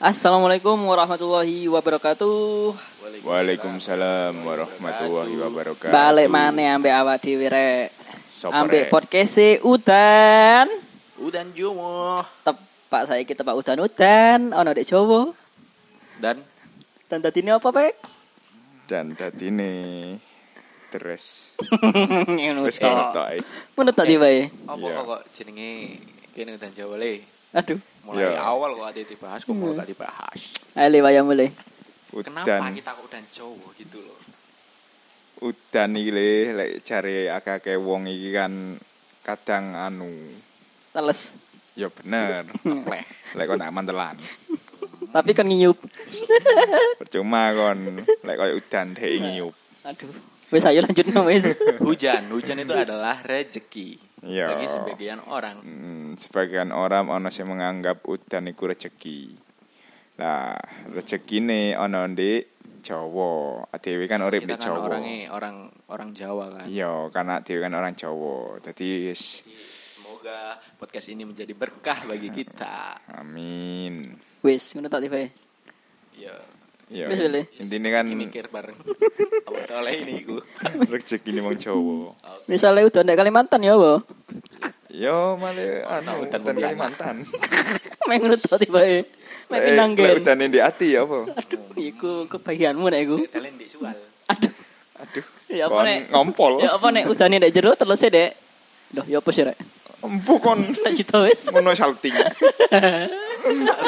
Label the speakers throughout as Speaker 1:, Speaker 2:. Speaker 1: Assalamualaikum warahmatullahi wabarakatuh.
Speaker 2: Waalaikumsalam warahmatullahi wabarakatuh.
Speaker 1: Balik mana ambek awak dhewe rek.
Speaker 2: Sopo,
Speaker 1: Ambek
Speaker 2: Rek?
Speaker 1: podcast e, Udan.
Speaker 3: Udan Jumo
Speaker 1: Tepak saya kita Pak Udan Udan ono dek Jawa.
Speaker 3: dan
Speaker 1: Dan dadine apa, Pak?
Speaker 2: Dan tadi nih terus
Speaker 1: Ngono
Speaker 2: terus
Speaker 1: dek.
Speaker 2: kamu tak
Speaker 1: Menurut tak ya? diwae.
Speaker 3: apa
Speaker 2: Iya.
Speaker 3: kok kok jenenge kene Udan Jawa le.
Speaker 1: Aduh.
Speaker 3: Mulai
Speaker 2: Iya.
Speaker 3: awal kok ati dibahas kok mulai gak dibahas.
Speaker 1: Ayo waya mulai.
Speaker 3: Kenapa
Speaker 2: udan
Speaker 3: kita kok Udan Jawa gitu loh.
Speaker 2: udan iki le lek jare akeh wong iki kan kadang anu
Speaker 1: Teles.
Speaker 2: ya bener
Speaker 3: Tepleh.
Speaker 2: lek kon nak mantelan
Speaker 1: Tapi kan ngiyup.
Speaker 2: percuma kon lek koyo udan dhek ngiyup
Speaker 1: Aduh. Wes ayo lanjut wes.
Speaker 3: Hujan, hujan itu adalah rezeki.
Speaker 2: Iya.
Speaker 3: Bagi sebagian orang.
Speaker 2: Hmm, sebagian orang ono sing menganggap udan iku rejeki. Lah, rejekine ono ndek Jawa. Adewe kan urip
Speaker 3: Kita
Speaker 2: di
Speaker 3: kan
Speaker 2: Jawa.
Speaker 3: orangnya orang orang Jawa kan.
Speaker 2: Iya, karena adewe kan orang Jawa. Dadi wis
Speaker 3: Jadi, Semoga podcast ini menjadi berkah bagi kita.
Speaker 2: amin.
Speaker 1: Wes ngono tak diwae.
Speaker 3: Ya.
Speaker 2: Iya.
Speaker 1: Wis, Wili.
Speaker 2: Intine kan
Speaker 3: mikir ya bareng. Apa tole ini iku?
Speaker 2: rejekine wong Jawa.
Speaker 1: Misalnya udan ndek Kalimantan ya, Bo.
Speaker 2: Yo, male
Speaker 3: no,
Speaker 2: ana
Speaker 3: udan
Speaker 2: udan
Speaker 3: pembianan.
Speaker 2: Kalimantan. Eh,
Speaker 1: Mek ngono tak diwae. Eh, Mek pinanggen.
Speaker 2: Udan ndek ati ya apa?
Speaker 1: Aduh, iku kebagianmu nek iku.
Speaker 3: Telen di sual.
Speaker 1: Aduh.
Speaker 2: Aduh.
Speaker 1: Ya apa
Speaker 2: Kon
Speaker 1: nek?
Speaker 2: ngompol.
Speaker 1: Ya apa nek udane nek jero teluse, Dek? Loh, ya apa sih, Rek?
Speaker 2: Empu kon
Speaker 1: Tak cita wis.
Speaker 2: ngono salting. Kon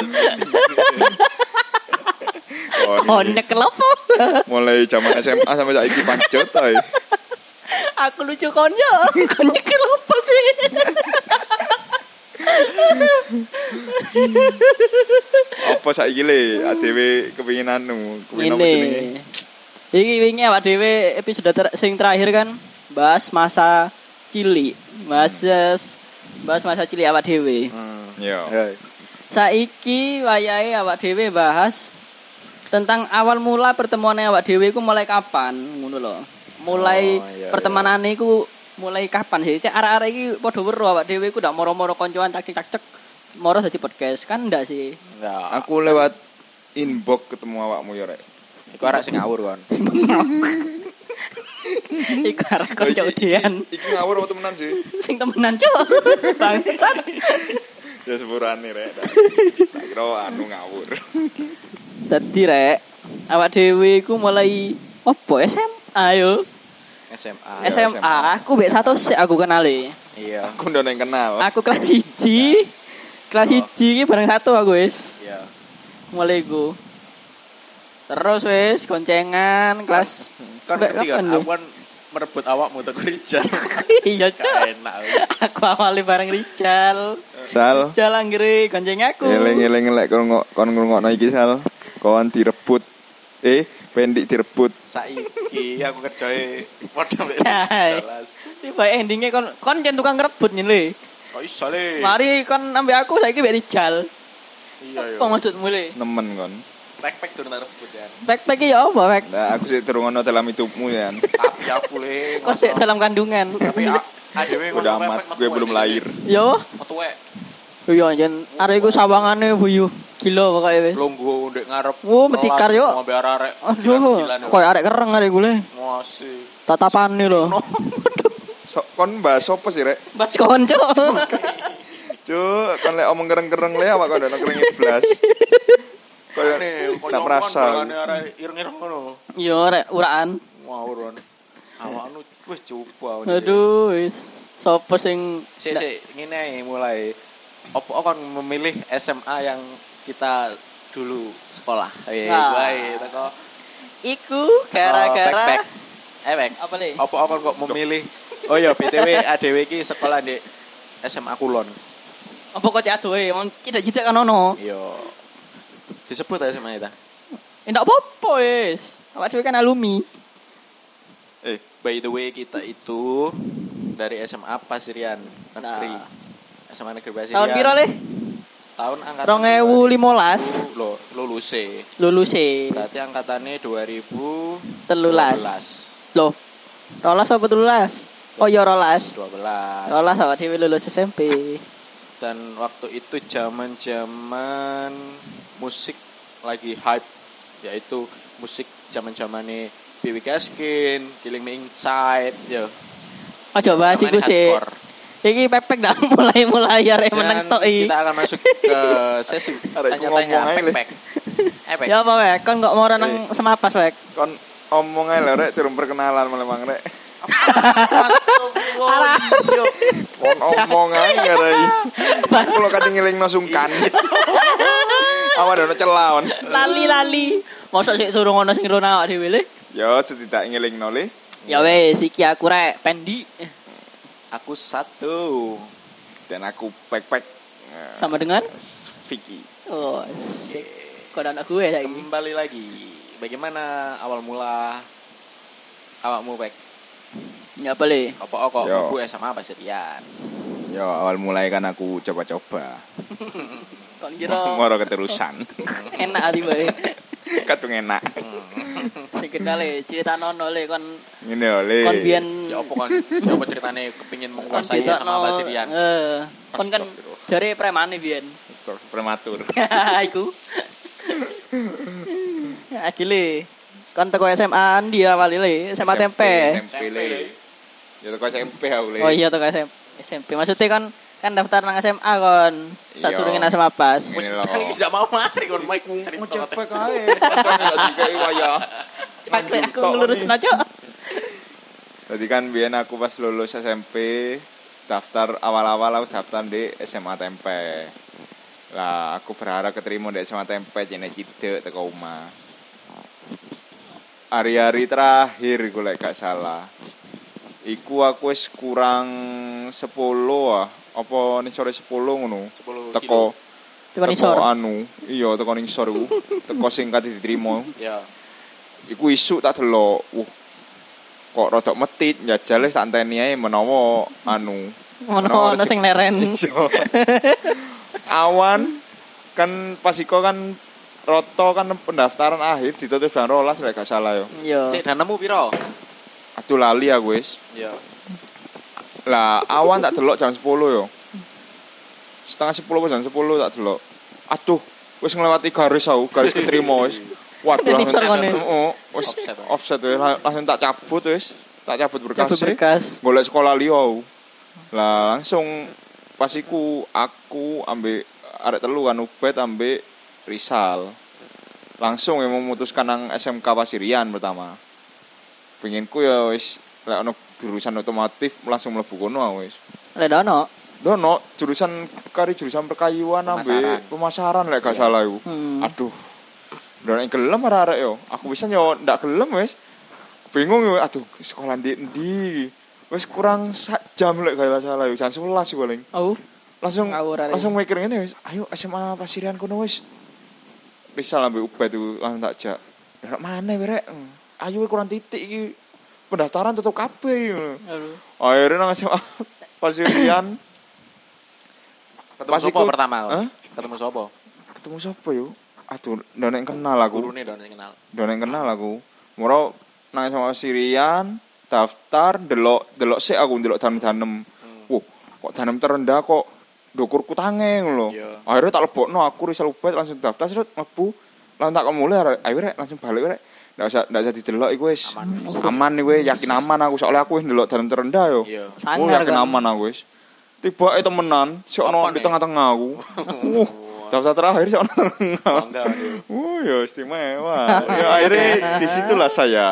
Speaker 1: Oh, nek kelopo.
Speaker 2: mulai zaman SMA sampai saiki pancut ae.
Speaker 1: Aku lucu kon yo. Kon nek kelopo sih?
Speaker 2: Apa saiki le adewe kepengin anu, kepengin apa
Speaker 1: Ini.
Speaker 2: jenenge?
Speaker 1: Iki wingi awak dhewe episode ter- sing terakhir kan bahas masa cilik. Bahas bahas masa cilik awak dhewe.
Speaker 2: Iya.
Speaker 3: Iya.
Speaker 2: Yo.
Speaker 1: Saiki wayahe awak dhewe bahas tentang awal mula pertemuannya awak dhewe iku mulai kapan ngono lho. Mulai
Speaker 3: Oh, iya,
Speaker 1: pertemanane iku mulai kapan sih? Cek arek-arek iki padha weruh awak dhewe iku ndak moro-moro koncoan cak-cak moro dadi podcast kan ndak sih?
Speaker 3: Enggak.
Speaker 2: Aku lewat inbox ketemu awakmu yo rek.
Speaker 3: Iku arek sing ngawur kon. Hmm.
Speaker 1: iku
Speaker 3: Oh,
Speaker 1: arek kanca udian
Speaker 2: Iki ngawur apa temenan sih?
Speaker 1: sing temenan cuk. Bangsat.
Speaker 2: Ya sepurane rek. Tak tak kira anu ngawur.
Speaker 1: Dadi rek awak dhewe iku mulai opo SMA yo.
Speaker 3: SMA.
Speaker 2: Iya,
Speaker 1: SMA,
Speaker 2: SMA.
Speaker 1: aku mbek satu sik aku kenali.
Speaker 3: Iya.
Speaker 2: Aku ndak neng kenal.
Speaker 1: Aku kelas
Speaker 3: Ya.
Speaker 1: siji.
Speaker 3: Oh.
Speaker 1: Kelas siji iki bareng satu aku wis.
Speaker 3: Iya.
Speaker 1: Mulai ku. Terus wis koncengan kelas
Speaker 3: Kan
Speaker 1: Mbak,
Speaker 3: ngerti kan
Speaker 1: lu?
Speaker 3: aku kan merebut awakmu tuh Rijal.
Speaker 1: Iya, Cuk.
Speaker 3: Gak enak.
Speaker 1: Aku awali bareng Rijal.
Speaker 3: Oh.
Speaker 2: Sal.
Speaker 1: Rijal anggere gonceng aku.
Speaker 2: Eling-eling lek ngrungok kon ngrungokno iki Sal. Kawan direbut. Eh, pendik direbut.
Speaker 3: Saiki aku kerjae padha mbek
Speaker 1: Cai.
Speaker 3: jelas.
Speaker 1: Tiba endingnya kon kon jen tukang ngerebut nih le.
Speaker 3: Kok iso le?
Speaker 1: Mari kon ambek aku saiki mbek Rijal.
Speaker 3: Iya iya.
Speaker 1: Apa maksudmu le?
Speaker 2: Nemen kon.
Speaker 3: Pek-pek turun tak rebut ya.
Speaker 1: Backpack iki ya apa back?
Speaker 2: Lah aku sik durung ono dalam hidupmu ya.
Speaker 3: Tapi aku le.
Speaker 1: Kok sik dalam kandungan.
Speaker 3: Tapi a- adewe ngono
Speaker 2: Udah
Speaker 3: pek-pek
Speaker 2: amat
Speaker 3: metu
Speaker 2: gue
Speaker 3: wae
Speaker 2: belum
Speaker 3: dhewe.
Speaker 2: lahir.
Speaker 1: Yo,
Speaker 3: Metu wae.
Speaker 1: yo jen arek iku sawangane buyu. Gila pokoke wis.
Speaker 3: Lungguh ndek ngarep.
Speaker 1: Wuh, Oh, metikar,
Speaker 3: kelas,
Speaker 1: yuk.
Speaker 3: ngombe arek-arek.
Speaker 1: Aduh, ya?
Speaker 3: Gila-gilaan, yuk.
Speaker 1: koyo arek kereng arek gue le.
Speaker 3: Masih.
Speaker 1: Tatapane lho.
Speaker 2: So, kon bahas apa sih rek?
Speaker 1: Mas konco.
Speaker 2: Cuk, kon lek omong kereng-kereng le awak kon ono kereng iblas. Kayak
Speaker 3: kok
Speaker 2: ndak ya? merasa.
Speaker 3: nyongkon, arek-arek Ireng-ireng ngono.
Speaker 1: Yo rek Iya, uraan.
Speaker 3: Ngawur kan. Awakmu wis cupu.
Speaker 1: Aduh wis. Sopo sing
Speaker 3: Sik sik ngene ae mulai. Apa kon memilih SMA yang kita dulu sekolah? Eh,
Speaker 1: Nah.
Speaker 3: bae teko
Speaker 1: iku
Speaker 3: teko
Speaker 1: gara-gara
Speaker 3: backpack. Eh, Oh, back.
Speaker 1: apa le?
Speaker 3: Apa kon kok memilih? Oh iya, BTW ADW iki sekolah di SMA Kulon.
Speaker 1: Apa kok cek adoe wong cidak-cidak kan ono.
Speaker 3: Iya. Disebut ae SMA itu.
Speaker 1: Endak Eh, apa-apa wis. Awak dhewe kan alumni.
Speaker 3: Iya.
Speaker 2: Eh,
Speaker 3: By the way, kita itu dari SMA Pasirian Negeri.
Speaker 1: Nah.
Speaker 3: SMA Negeri Pasirian.
Speaker 1: Tahun piro le?
Speaker 3: Tahun angkatan
Speaker 1: 2015
Speaker 3: 2000 Lo, luluse.
Speaker 1: luluse.
Speaker 3: Berarti angkatannya 2000
Speaker 1: Telulas. Loh. Rolas apa telulas? Oh iya rolas.
Speaker 3: 12.
Speaker 1: Rolas awak dhewe lulus SMP.
Speaker 3: Dan waktu itu zaman-zaman musik lagi hype yaitu musik zaman zamane Piwi Gaskin, Killing Me Inside, yo.
Speaker 1: Ojo bahas
Speaker 3: Zamane
Speaker 1: iku sih.
Speaker 3: hardcore.
Speaker 1: Iki pepek dah mulai mulai ya
Speaker 3: Dan
Speaker 1: menang tok iki.
Speaker 3: kita akan masuk ke sesi
Speaker 2: Arek iku ngomong ae,
Speaker 3: tanya-tanya
Speaker 2: Le.
Speaker 3: pek-pek. Eh, pek.
Speaker 1: Ya apa wek, kon kok mau nang semapas wek.
Speaker 2: Kon omong ae lho rek turun perkenalan malah mang rek.
Speaker 3: Astagfirullah, iya.
Speaker 2: Kon omong ae ngarai. Kulo kate ngelingno sungkan. Awak dono celaon.
Speaker 1: Lali lali. Mosok sik durung ono sing rono awak dhewe le.
Speaker 2: Yo setidak ngelingno le.
Speaker 1: Ya wes iki aku rek pendi
Speaker 3: Aku satu.
Speaker 2: Dan aku pek-pek. eh,
Speaker 1: sama dengan
Speaker 2: Vicky.
Speaker 1: oh sik. Kau anak gue saiki.
Speaker 3: Kembali lagi. Bagaimana awal mula awakmu pek?
Speaker 1: Ya apa le?
Speaker 3: Apa ya kok
Speaker 2: Yo.
Speaker 3: aku SMA apa Rian?
Speaker 2: Yo awal mulai kan aku coba-coba.
Speaker 1: Kon kira
Speaker 2: Moro keterusan.
Speaker 1: enak ati bae.
Speaker 2: Katung enak.
Speaker 1: Sing kenal le cerita nono le kon
Speaker 2: Ngene lho le.
Speaker 1: kon biyen
Speaker 3: Ya apa kon apa ceritane kepingin menguasai
Speaker 1: ditokno,
Speaker 3: sama Mbak Rian?
Speaker 1: Eh, kon kan
Speaker 2: Astagfirullah.
Speaker 1: jare premane biyen.
Speaker 2: Stor prematur.
Speaker 1: Iku. Akile. Kon teko SMA dia awal le, SMA tempe.
Speaker 2: SMP le. Yo teko SMP aku le.
Speaker 1: Oh iya teko SMP. SMP. Maksudnya kon kan daftar nang SMA kon. Sak
Speaker 2: Iya.
Speaker 1: durunge nang SMA pas.
Speaker 2: Ngene
Speaker 3: Wis
Speaker 2: lho.
Speaker 3: kan tidak mau mari kon mic cerita
Speaker 2: Coba
Speaker 3: tentang-
Speaker 2: kae. Dikai wayah.
Speaker 1: Cepat
Speaker 2: Aduh,
Speaker 1: aku
Speaker 2: tok
Speaker 1: ngelurus
Speaker 2: nih.
Speaker 1: Cok.
Speaker 2: Tadi kan biyen aku pas lulus SMP daftar awal-awal aku daftar di SMA Tempe. Lah aku berharap keterima di SMA Tempe jene cidek teko omah. Hari-hari terakhir gue lek gak salah. Iku aku wis kurang 10 ah. Apa nih sore 10 ngono.
Speaker 3: 10
Speaker 2: Teko
Speaker 1: Coba
Speaker 2: teko
Speaker 1: nisor.
Speaker 2: anu, iya teko nisor iku. teko sing kate diterima.
Speaker 3: Ya.
Speaker 2: Iku isuk tak delok. Wuh. Kok rodok metit jajale tak enteni ae menawa anu.
Speaker 1: Ono ono
Speaker 2: rezeki.
Speaker 1: sing leren.
Speaker 2: Iya. Awan kan pas iko kan roto kan pendaftaran akhir ditutup jam 12 lek gak salah yo.
Speaker 1: Yo.
Speaker 3: Sik dan nemu piro?
Speaker 2: Aduh lali aku wis.
Speaker 3: Ya.
Speaker 2: Lah awan tak delok jam 10 yo. Setengah 10 apa jam 10 tak delok. Aduh, wis ngelewati garis aku, garis keterima wis. Waduh,
Speaker 1: Ini
Speaker 2: langsung-
Speaker 1: serone.
Speaker 2: oh, wis
Speaker 3: Offset.
Speaker 2: offset wis Lang- langsung tak cabut wis. Tak cabut berkas.
Speaker 1: Cabut berkas.
Speaker 2: Golek sekolah liya aku. Lah langsung pas iku aku ambek arek telu kan Ubed ambek Rizal. Langsung yang memutuskan nang SMK Pasirian pertama. Penginku ya wis lek ono jurusan otomotif langsung mlebu kono aku wis.
Speaker 1: Lek ono.
Speaker 2: Dono jurusan kari jurusan perkayuan ambek pemasaran lek gak salah iku.
Speaker 1: Hmm.
Speaker 2: Aduh. Dono yang gelem arek yo. Aku bisa yo ndak gelem wis. Bingung yo aduh sekolah ndi ndi. Wis kurang sak jam lek gak salah yo. Jam 11 sih paling.
Speaker 1: Oh.
Speaker 2: Langsung
Speaker 1: Ngawur arek.
Speaker 2: langsung mikir ngene wis. Ayo SMA Pasirian kono wis. Bisa ambek Ubed tuh langsung tak jak. Dono mana wae rek. Ayo kurang titik iki. Pendaftaran tutup kabeh. ngono.
Speaker 1: Aduh.
Speaker 2: Akhirnya nang SMA Pasirian
Speaker 3: Ketemu
Speaker 2: Pas
Speaker 3: sopo
Speaker 2: iku-
Speaker 3: pertama? kon?
Speaker 2: Hah?
Speaker 3: Ketemu sopo?
Speaker 2: ketemu siapa yo? Aduh, ndak yang kenal aku.
Speaker 3: Gurune dong yang kenal.
Speaker 2: Ndak yang kenal aku. Moro nang sama Sirian daftar delok delok sik aku delok danem-danem.
Speaker 3: Hmm.
Speaker 2: Wuh, kok danem terendah kok dukurku tange ngono lho.
Speaker 3: Iya.
Speaker 2: Akhirnya tak lebokno aku Rizal Ubed langsung daftar serut mlebu. Langsung tak mulai arek, ayo rek langsung balik rek. Ndak usah ndak usah didelok iku wis.
Speaker 3: Aman, wis.
Speaker 2: Aman iku wis, yakin aman aku soalnya aku wis delok danem terendah yo.
Speaker 3: Iya.
Speaker 2: Oh,
Speaker 1: Sangar,
Speaker 2: yakin
Speaker 1: kan?
Speaker 2: aman aku wis. Tiba eh temenan, si ono
Speaker 3: Apa
Speaker 2: di
Speaker 3: nih?
Speaker 2: tengah-tengah aku. Uh, daftar terakhir si ono tengah.
Speaker 3: Bangga dia.
Speaker 2: Uh, ya istimewa. ya akhirnya disitulah saya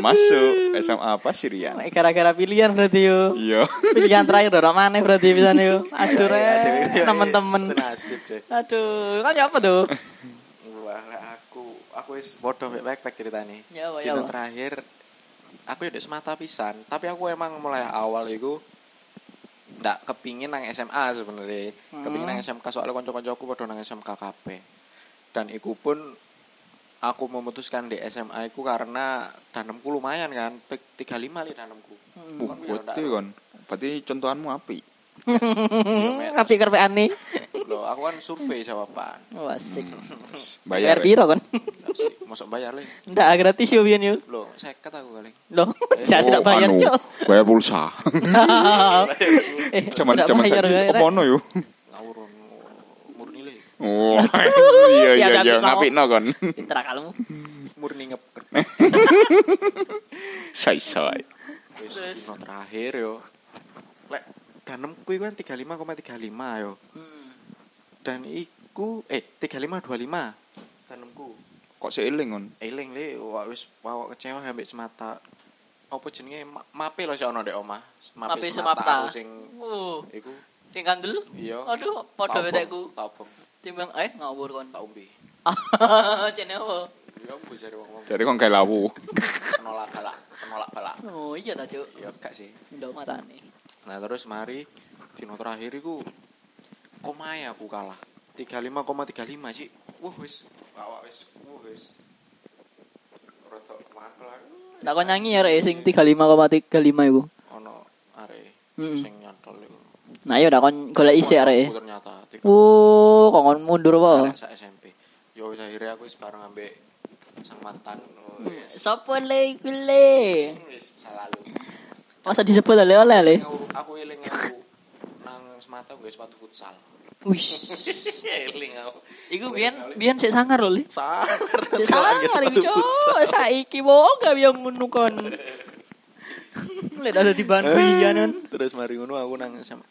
Speaker 2: masuk SMA Pasirian.
Speaker 1: Mek Gara-gara pilihan berarti yo.
Speaker 2: Iya.
Speaker 1: Pilihan terakhir dorong mana berarti bisa yo. Aduh
Speaker 3: Aduh,
Speaker 1: rek,
Speaker 3: iya,
Speaker 1: temen-temen.
Speaker 3: Senasib deh.
Speaker 1: Aduh, kan ya apa tuh?
Speaker 3: Wah, lek aku aku wis bodoh mbek backpack ceritane.
Speaker 1: Ya, apa, ya,
Speaker 3: Dino
Speaker 1: apa.
Speaker 3: terakhir aku ya dek semata pisan, tapi aku emang mulai awal iku ndak kepingin nang SMA sebenarnya.
Speaker 1: Hmm.
Speaker 3: Kepingin nang SMK soalnya kanca-kancaku padha nang SMK kabeh. Dan iku pun aku memutuskan di SMA iku karena danemku lumayan kan, T- 35 li ya danemku.
Speaker 1: Hmm.
Speaker 2: Uh, Berarti kan. Berarti contohanmu api.
Speaker 1: Kapi kerpe ane.
Speaker 3: Loh, aku kan survei jawaban.
Speaker 1: Wah, sik.
Speaker 2: Bayar.
Speaker 1: Oh, Bayar
Speaker 2: ya.
Speaker 1: piro kon?
Speaker 3: Masuk bayar le.
Speaker 1: Ndak gratis yo biyen yo.
Speaker 3: Loh, seket aku kali.
Speaker 1: Loh, jangan
Speaker 2: Oh,
Speaker 1: tidak bayar,
Speaker 2: anu,
Speaker 1: Cuk.
Speaker 2: Bayar pulsa.
Speaker 1: Eh,
Speaker 2: Zaman
Speaker 1: tidak
Speaker 2: zaman
Speaker 1: bayar,
Speaker 2: saiki
Speaker 1: bayar,
Speaker 2: apa ono yo?
Speaker 3: ngawur murni le
Speaker 2: Wah, Oh, iya iya iya
Speaker 1: Diambil mau.
Speaker 2: ngapikno kon.
Speaker 1: Pinter akalmu.
Speaker 3: murni ngeper
Speaker 2: Saiso ae.
Speaker 3: wis dino terakhir yo lek danem kuwi kan 35,35 yo
Speaker 1: Hmm.
Speaker 3: dan iku eh 3525 danemku
Speaker 2: Kok seiling kon?
Speaker 3: eling le wak wis wawak kecewa ambek semata apa jenenge Ma- mape lho sik ono ndek omah
Speaker 1: Tapi
Speaker 3: aku
Speaker 1: semapta.
Speaker 3: sing
Speaker 1: Uh,
Speaker 3: iku
Speaker 1: sing kandel.
Speaker 3: iya
Speaker 1: Aduh, padha
Speaker 3: Tak
Speaker 1: wetekku.
Speaker 3: obong, tak obong
Speaker 1: Timbang eh ngawur kon.
Speaker 3: tak umbi
Speaker 1: Cene apa?
Speaker 3: iya aku jare wong-wong
Speaker 2: Jadi kon kayak lawu.
Speaker 3: penolak balak penolak balak
Speaker 1: Oh iya ta, Cuk.
Speaker 3: iya gak sih
Speaker 1: Ndok matane.
Speaker 3: Nah terus mari dino terakhir iku komai aku kalah. 35,35 sih. Wah wis awak wis wah wis. Rada makel aku.
Speaker 1: Tak kon nyanyi ya rek sing 35,35 iku.
Speaker 3: ono are
Speaker 1: Mm-mm.
Speaker 3: sing nyantol iku.
Speaker 1: Nah iya tak kon golek isik
Speaker 3: Wah,
Speaker 1: rek.
Speaker 3: aku Ternyata tiga
Speaker 1: Uh, kok kon mundur
Speaker 3: arek
Speaker 1: wae.
Speaker 3: sak SMP. Yo Ya, wis akhirnya aku wis bareng ambek sang mantan. Oh, Wis Mm,
Speaker 1: Sopo le iku le?
Speaker 3: wis selalu.
Speaker 1: Masa disebut oleh oleh le.
Speaker 3: Aku aku eling aku nang semata gue sepatu futsal.
Speaker 1: Wih.
Speaker 3: Eling aku.
Speaker 1: Iku biyen biyen sik sangar lho le.
Speaker 3: Sangar.
Speaker 1: Sik sangar
Speaker 3: Jalan ke sepatu
Speaker 1: iku Cuk. Saiki wong gak biyen ngono kon. Lek ada di bahan kuliah kan.
Speaker 3: terus mari ngono aku nang SMA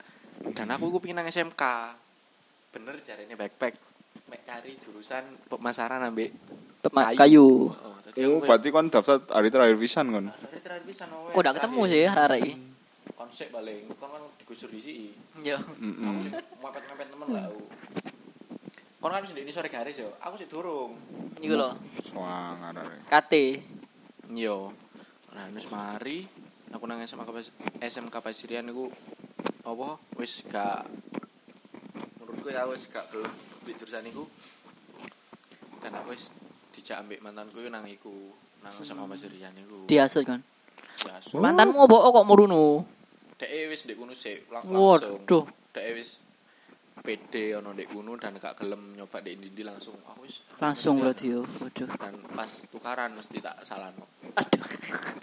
Speaker 3: dan aku iku pengen nang SMK bener jarene backpack mek cari jurusan pemasaran ambek
Speaker 1: Pemak kayu.
Speaker 3: oh tadi
Speaker 2: Oh, berarti kon daftar hari terakhir pisan kon.
Speaker 3: Hari terakhir pisan awe.
Speaker 1: Kok udah ketemu sih arek iki.
Speaker 3: konsep paling kon kan digusur di sini
Speaker 1: Yo.
Speaker 3: aku
Speaker 2: Heeh.
Speaker 3: sih mepet-mepet temen lah aku kon kan sendiri sore garis yo aku sih durung
Speaker 1: Iku lho.
Speaker 2: Wah, ngarep.
Speaker 1: KT.
Speaker 3: yo nah terus mari aku nang SMA Kapas- SMK Pasirian iku apa wis gak menurutku ya wis gak gelem di jurusan iku dan aku wis dijak ambek mantanku iku nang iku nang SMA Pasirian iku
Speaker 1: Diasut kan.
Speaker 3: biasa
Speaker 1: Mantanmu opo kok merunu?
Speaker 3: dek e wis ndek kuno sik lang- langsung
Speaker 1: Waduh.
Speaker 3: dek e wis PD ono ndek kuno dan gak gelem nyoba ndek ndi langsung aku wis
Speaker 1: Langsung lho dia. Waduh.
Speaker 3: dan pas tukaran mesti tak salano
Speaker 1: Aduh.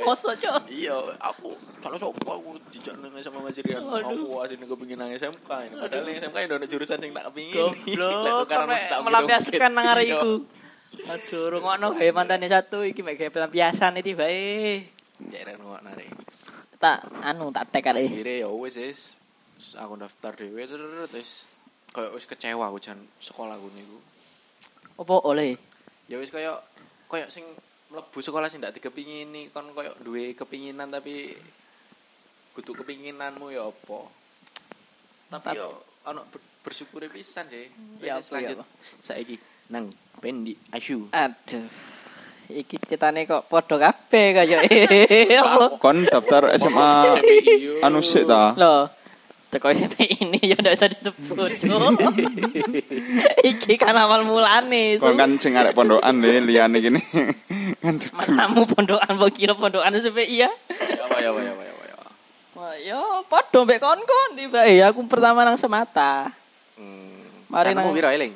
Speaker 1: Poso, Cok.
Speaker 3: iya aku kalau sopo aku dijak nang SMA Majirian
Speaker 1: Waduh.
Speaker 3: aku asine kepengin nang SMK ini padahal nang SMK ini ada jurusan yang tak kepengin Lek
Speaker 1: Goblok,
Speaker 3: tukaran
Speaker 1: kok
Speaker 3: mesti tak
Speaker 1: mek
Speaker 3: ambil
Speaker 1: melampiaskan
Speaker 3: dompet.
Speaker 1: nang arek
Speaker 3: Iya.
Speaker 1: iku. Aduh, rungokno gawe mantane satu iki mek gawe pelampiasan iki bae.
Speaker 3: ya enak nggak narik
Speaker 1: Tak anu tak tek arek.
Speaker 3: akhirnya ya wes wes Terus aku daftar dhewe terus terus kayak wes kecewa aku jan sekolah aku niku
Speaker 1: Opo oleh?
Speaker 3: ya wes kayak kayak sing mlebu sekolah sing ndak dikepingin nih kon kayak duwe kepinginan tapi kudu kepinginanmu ya apa tapi
Speaker 1: Tapi-
Speaker 3: yo ono bersyukur pisan sih
Speaker 1: Ya
Speaker 3: Wes,
Speaker 1: apa, ya
Speaker 3: lanjut saiki nang pendi asu
Speaker 1: Aduh. Iki cetane kok podo kabeh kaya.
Speaker 2: Kon daftar SMA anu sik ta?
Speaker 1: Loh. Teko SMP ini ya ndak usah disebut. Cuk. Iki kan awal mulane.
Speaker 2: Kon kan sing arek pondokan le liyane kene. Kan dudu.
Speaker 1: Matamu pondokan mbok kira pondokan sampe iya.
Speaker 3: ya apa ya apa ya apa ya apa, ya apa.
Speaker 1: Wah, yo padha mbek kon-kon tiba eh aku pertama nang semata.
Speaker 3: hmm.
Speaker 1: Mari
Speaker 3: Kanmu
Speaker 1: nang-
Speaker 3: piro eling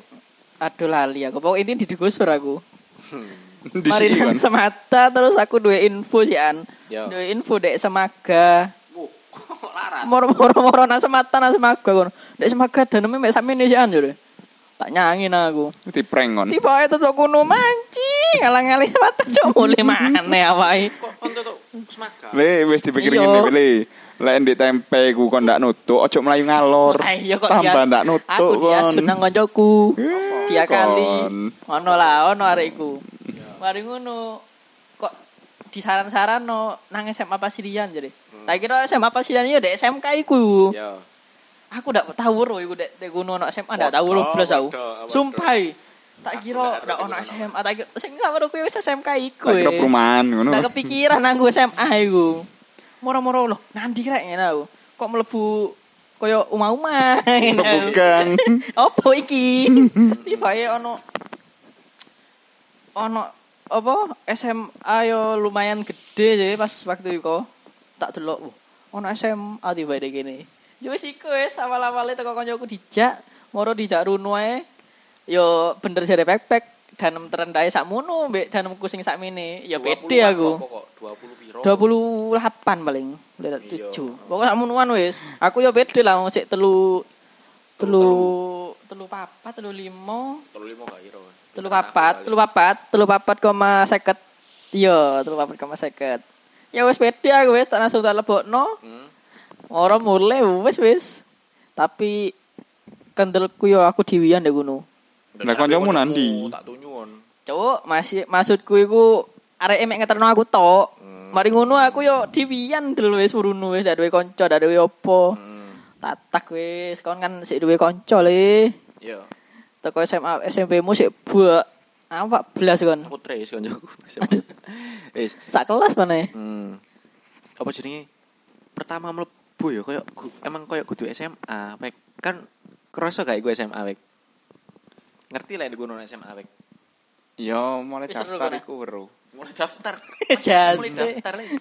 Speaker 1: Aduh lali aku pokok ini digusur aku.
Speaker 2: Di
Speaker 1: Mari
Speaker 2: sini kon.
Speaker 1: nang semata terus aku duwe info sih an.
Speaker 3: Yo.
Speaker 1: Duwe info dek semaga.
Speaker 3: Wuh, kok larat
Speaker 1: Moro-moro nang semata nang semaga kon. Dek semaga daneme mek sakmene sih an jare. Tak nyangin aku.
Speaker 2: Di prank kon.
Speaker 1: Tiba itu tuh kuno mancing, ngalang-ngalang semata cok mulai mana awai.
Speaker 3: kok kon tuh semaga
Speaker 2: Le wis dipikir
Speaker 1: Iya.
Speaker 2: ngene le. Lek ndek tempe ku kon ndak nutuk, ojo mlayu ngalor.
Speaker 1: Ayo Ah, iya kok
Speaker 2: Tambah
Speaker 1: dia-
Speaker 2: ndak nutuk
Speaker 1: Aku
Speaker 2: kon.
Speaker 1: diasut nang koncoku.
Speaker 2: Eh,
Speaker 1: Dia kali.
Speaker 2: kon. Hmm.
Speaker 1: Ono lah, ono arekku. Mari ngono. Kok disaran-saran no nang SMA Pasirian jadi. Tak kira SMA Pasirian ya dek SMK iku.
Speaker 3: ya
Speaker 1: Aku ndak tahu ro iku dek dek kuno ono SMA ndak
Speaker 3: Waduh,
Speaker 1: tahu ro blas aku.
Speaker 3: waduh, waduh.
Speaker 1: Sumpah. i. Tak
Speaker 3: Aku
Speaker 1: kira
Speaker 3: ndak
Speaker 1: ndak
Speaker 3: ro
Speaker 1: ono
Speaker 3: iku ono.
Speaker 1: SMA, tak kira sing karo kuwi wis SMK iku.
Speaker 2: Tak kira
Speaker 1: wis.
Speaker 2: perumahan ngono.
Speaker 1: Ndak kepikiran aku SMA iku. Moro-moro loh, nanti rek ngene aku. Kok mlebu koyo omah-omah ngene aku.
Speaker 2: Bukan.
Speaker 1: Opo iki? Tibae ono ono apa SMA yo lumayan gede sih pas waktu iku. Tak delok. wah, Ono SMA tiba dek kene. Yo wis iku wis awal-awale teko kancaku dijak, moro dijak runo ae. Yo bener jare backpack danem terendahe sakmono mbek danemku sing sakmene. Ya pede aku.
Speaker 3: 20 piro
Speaker 1: 28 paling,
Speaker 3: Iya.
Speaker 1: 27. Pokoknya sakmonoan wis. Aku yo pede lah mau sik telu telu telu papat telu limo
Speaker 3: Telu lima gak kira.
Speaker 1: telu papat telu papat telu papat koma seket iya telu papat koma seket ya wes beda aku wes tak langsung tak lebokno
Speaker 3: Hmm.
Speaker 1: Orang mulai wes wes. Tapi kendelku yo aku diwian deh gunung.
Speaker 2: Lah, koncomu nandi?
Speaker 3: Tak tunyun.
Speaker 1: Cuk, masih maksudku iku arek mek ngeterno aku tok.
Speaker 3: Hmm.
Speaker 1: Mari ngono aku yo diwian dulu wis uruno wis dak duwe kanca, dak duwe opo.
Speaker 3: Hmm.
Speaker 1: Tatak wis, kon kan sik duwe kanca le.
Speaker 3: Iya.
Speaker 1: Teko SMA SMP mu sik buak awak belas kon.
Speaker 3: Aku trace koncoku. Wis.
Speaker 1: Sak kelas mana ya?
Speaker 3: Hmm. Apa jenenge? Pertama mlebu ya koyo gu- emang koyo kudu SMA, Wek. Kan kerasa gak gue SMA, Wek? Ngerti lah di gunung SMA, Wek.
Speaker 2: Yo, mulai
Speaker 1: Wis seru,
Speaker 2: daftar
Speaker 1: kan,
Speaker 2: iku weruh.
Speaker 3: Mulai daftar. Mulai
Speaker 1: Jase.
Speaker 3: daftar lagi.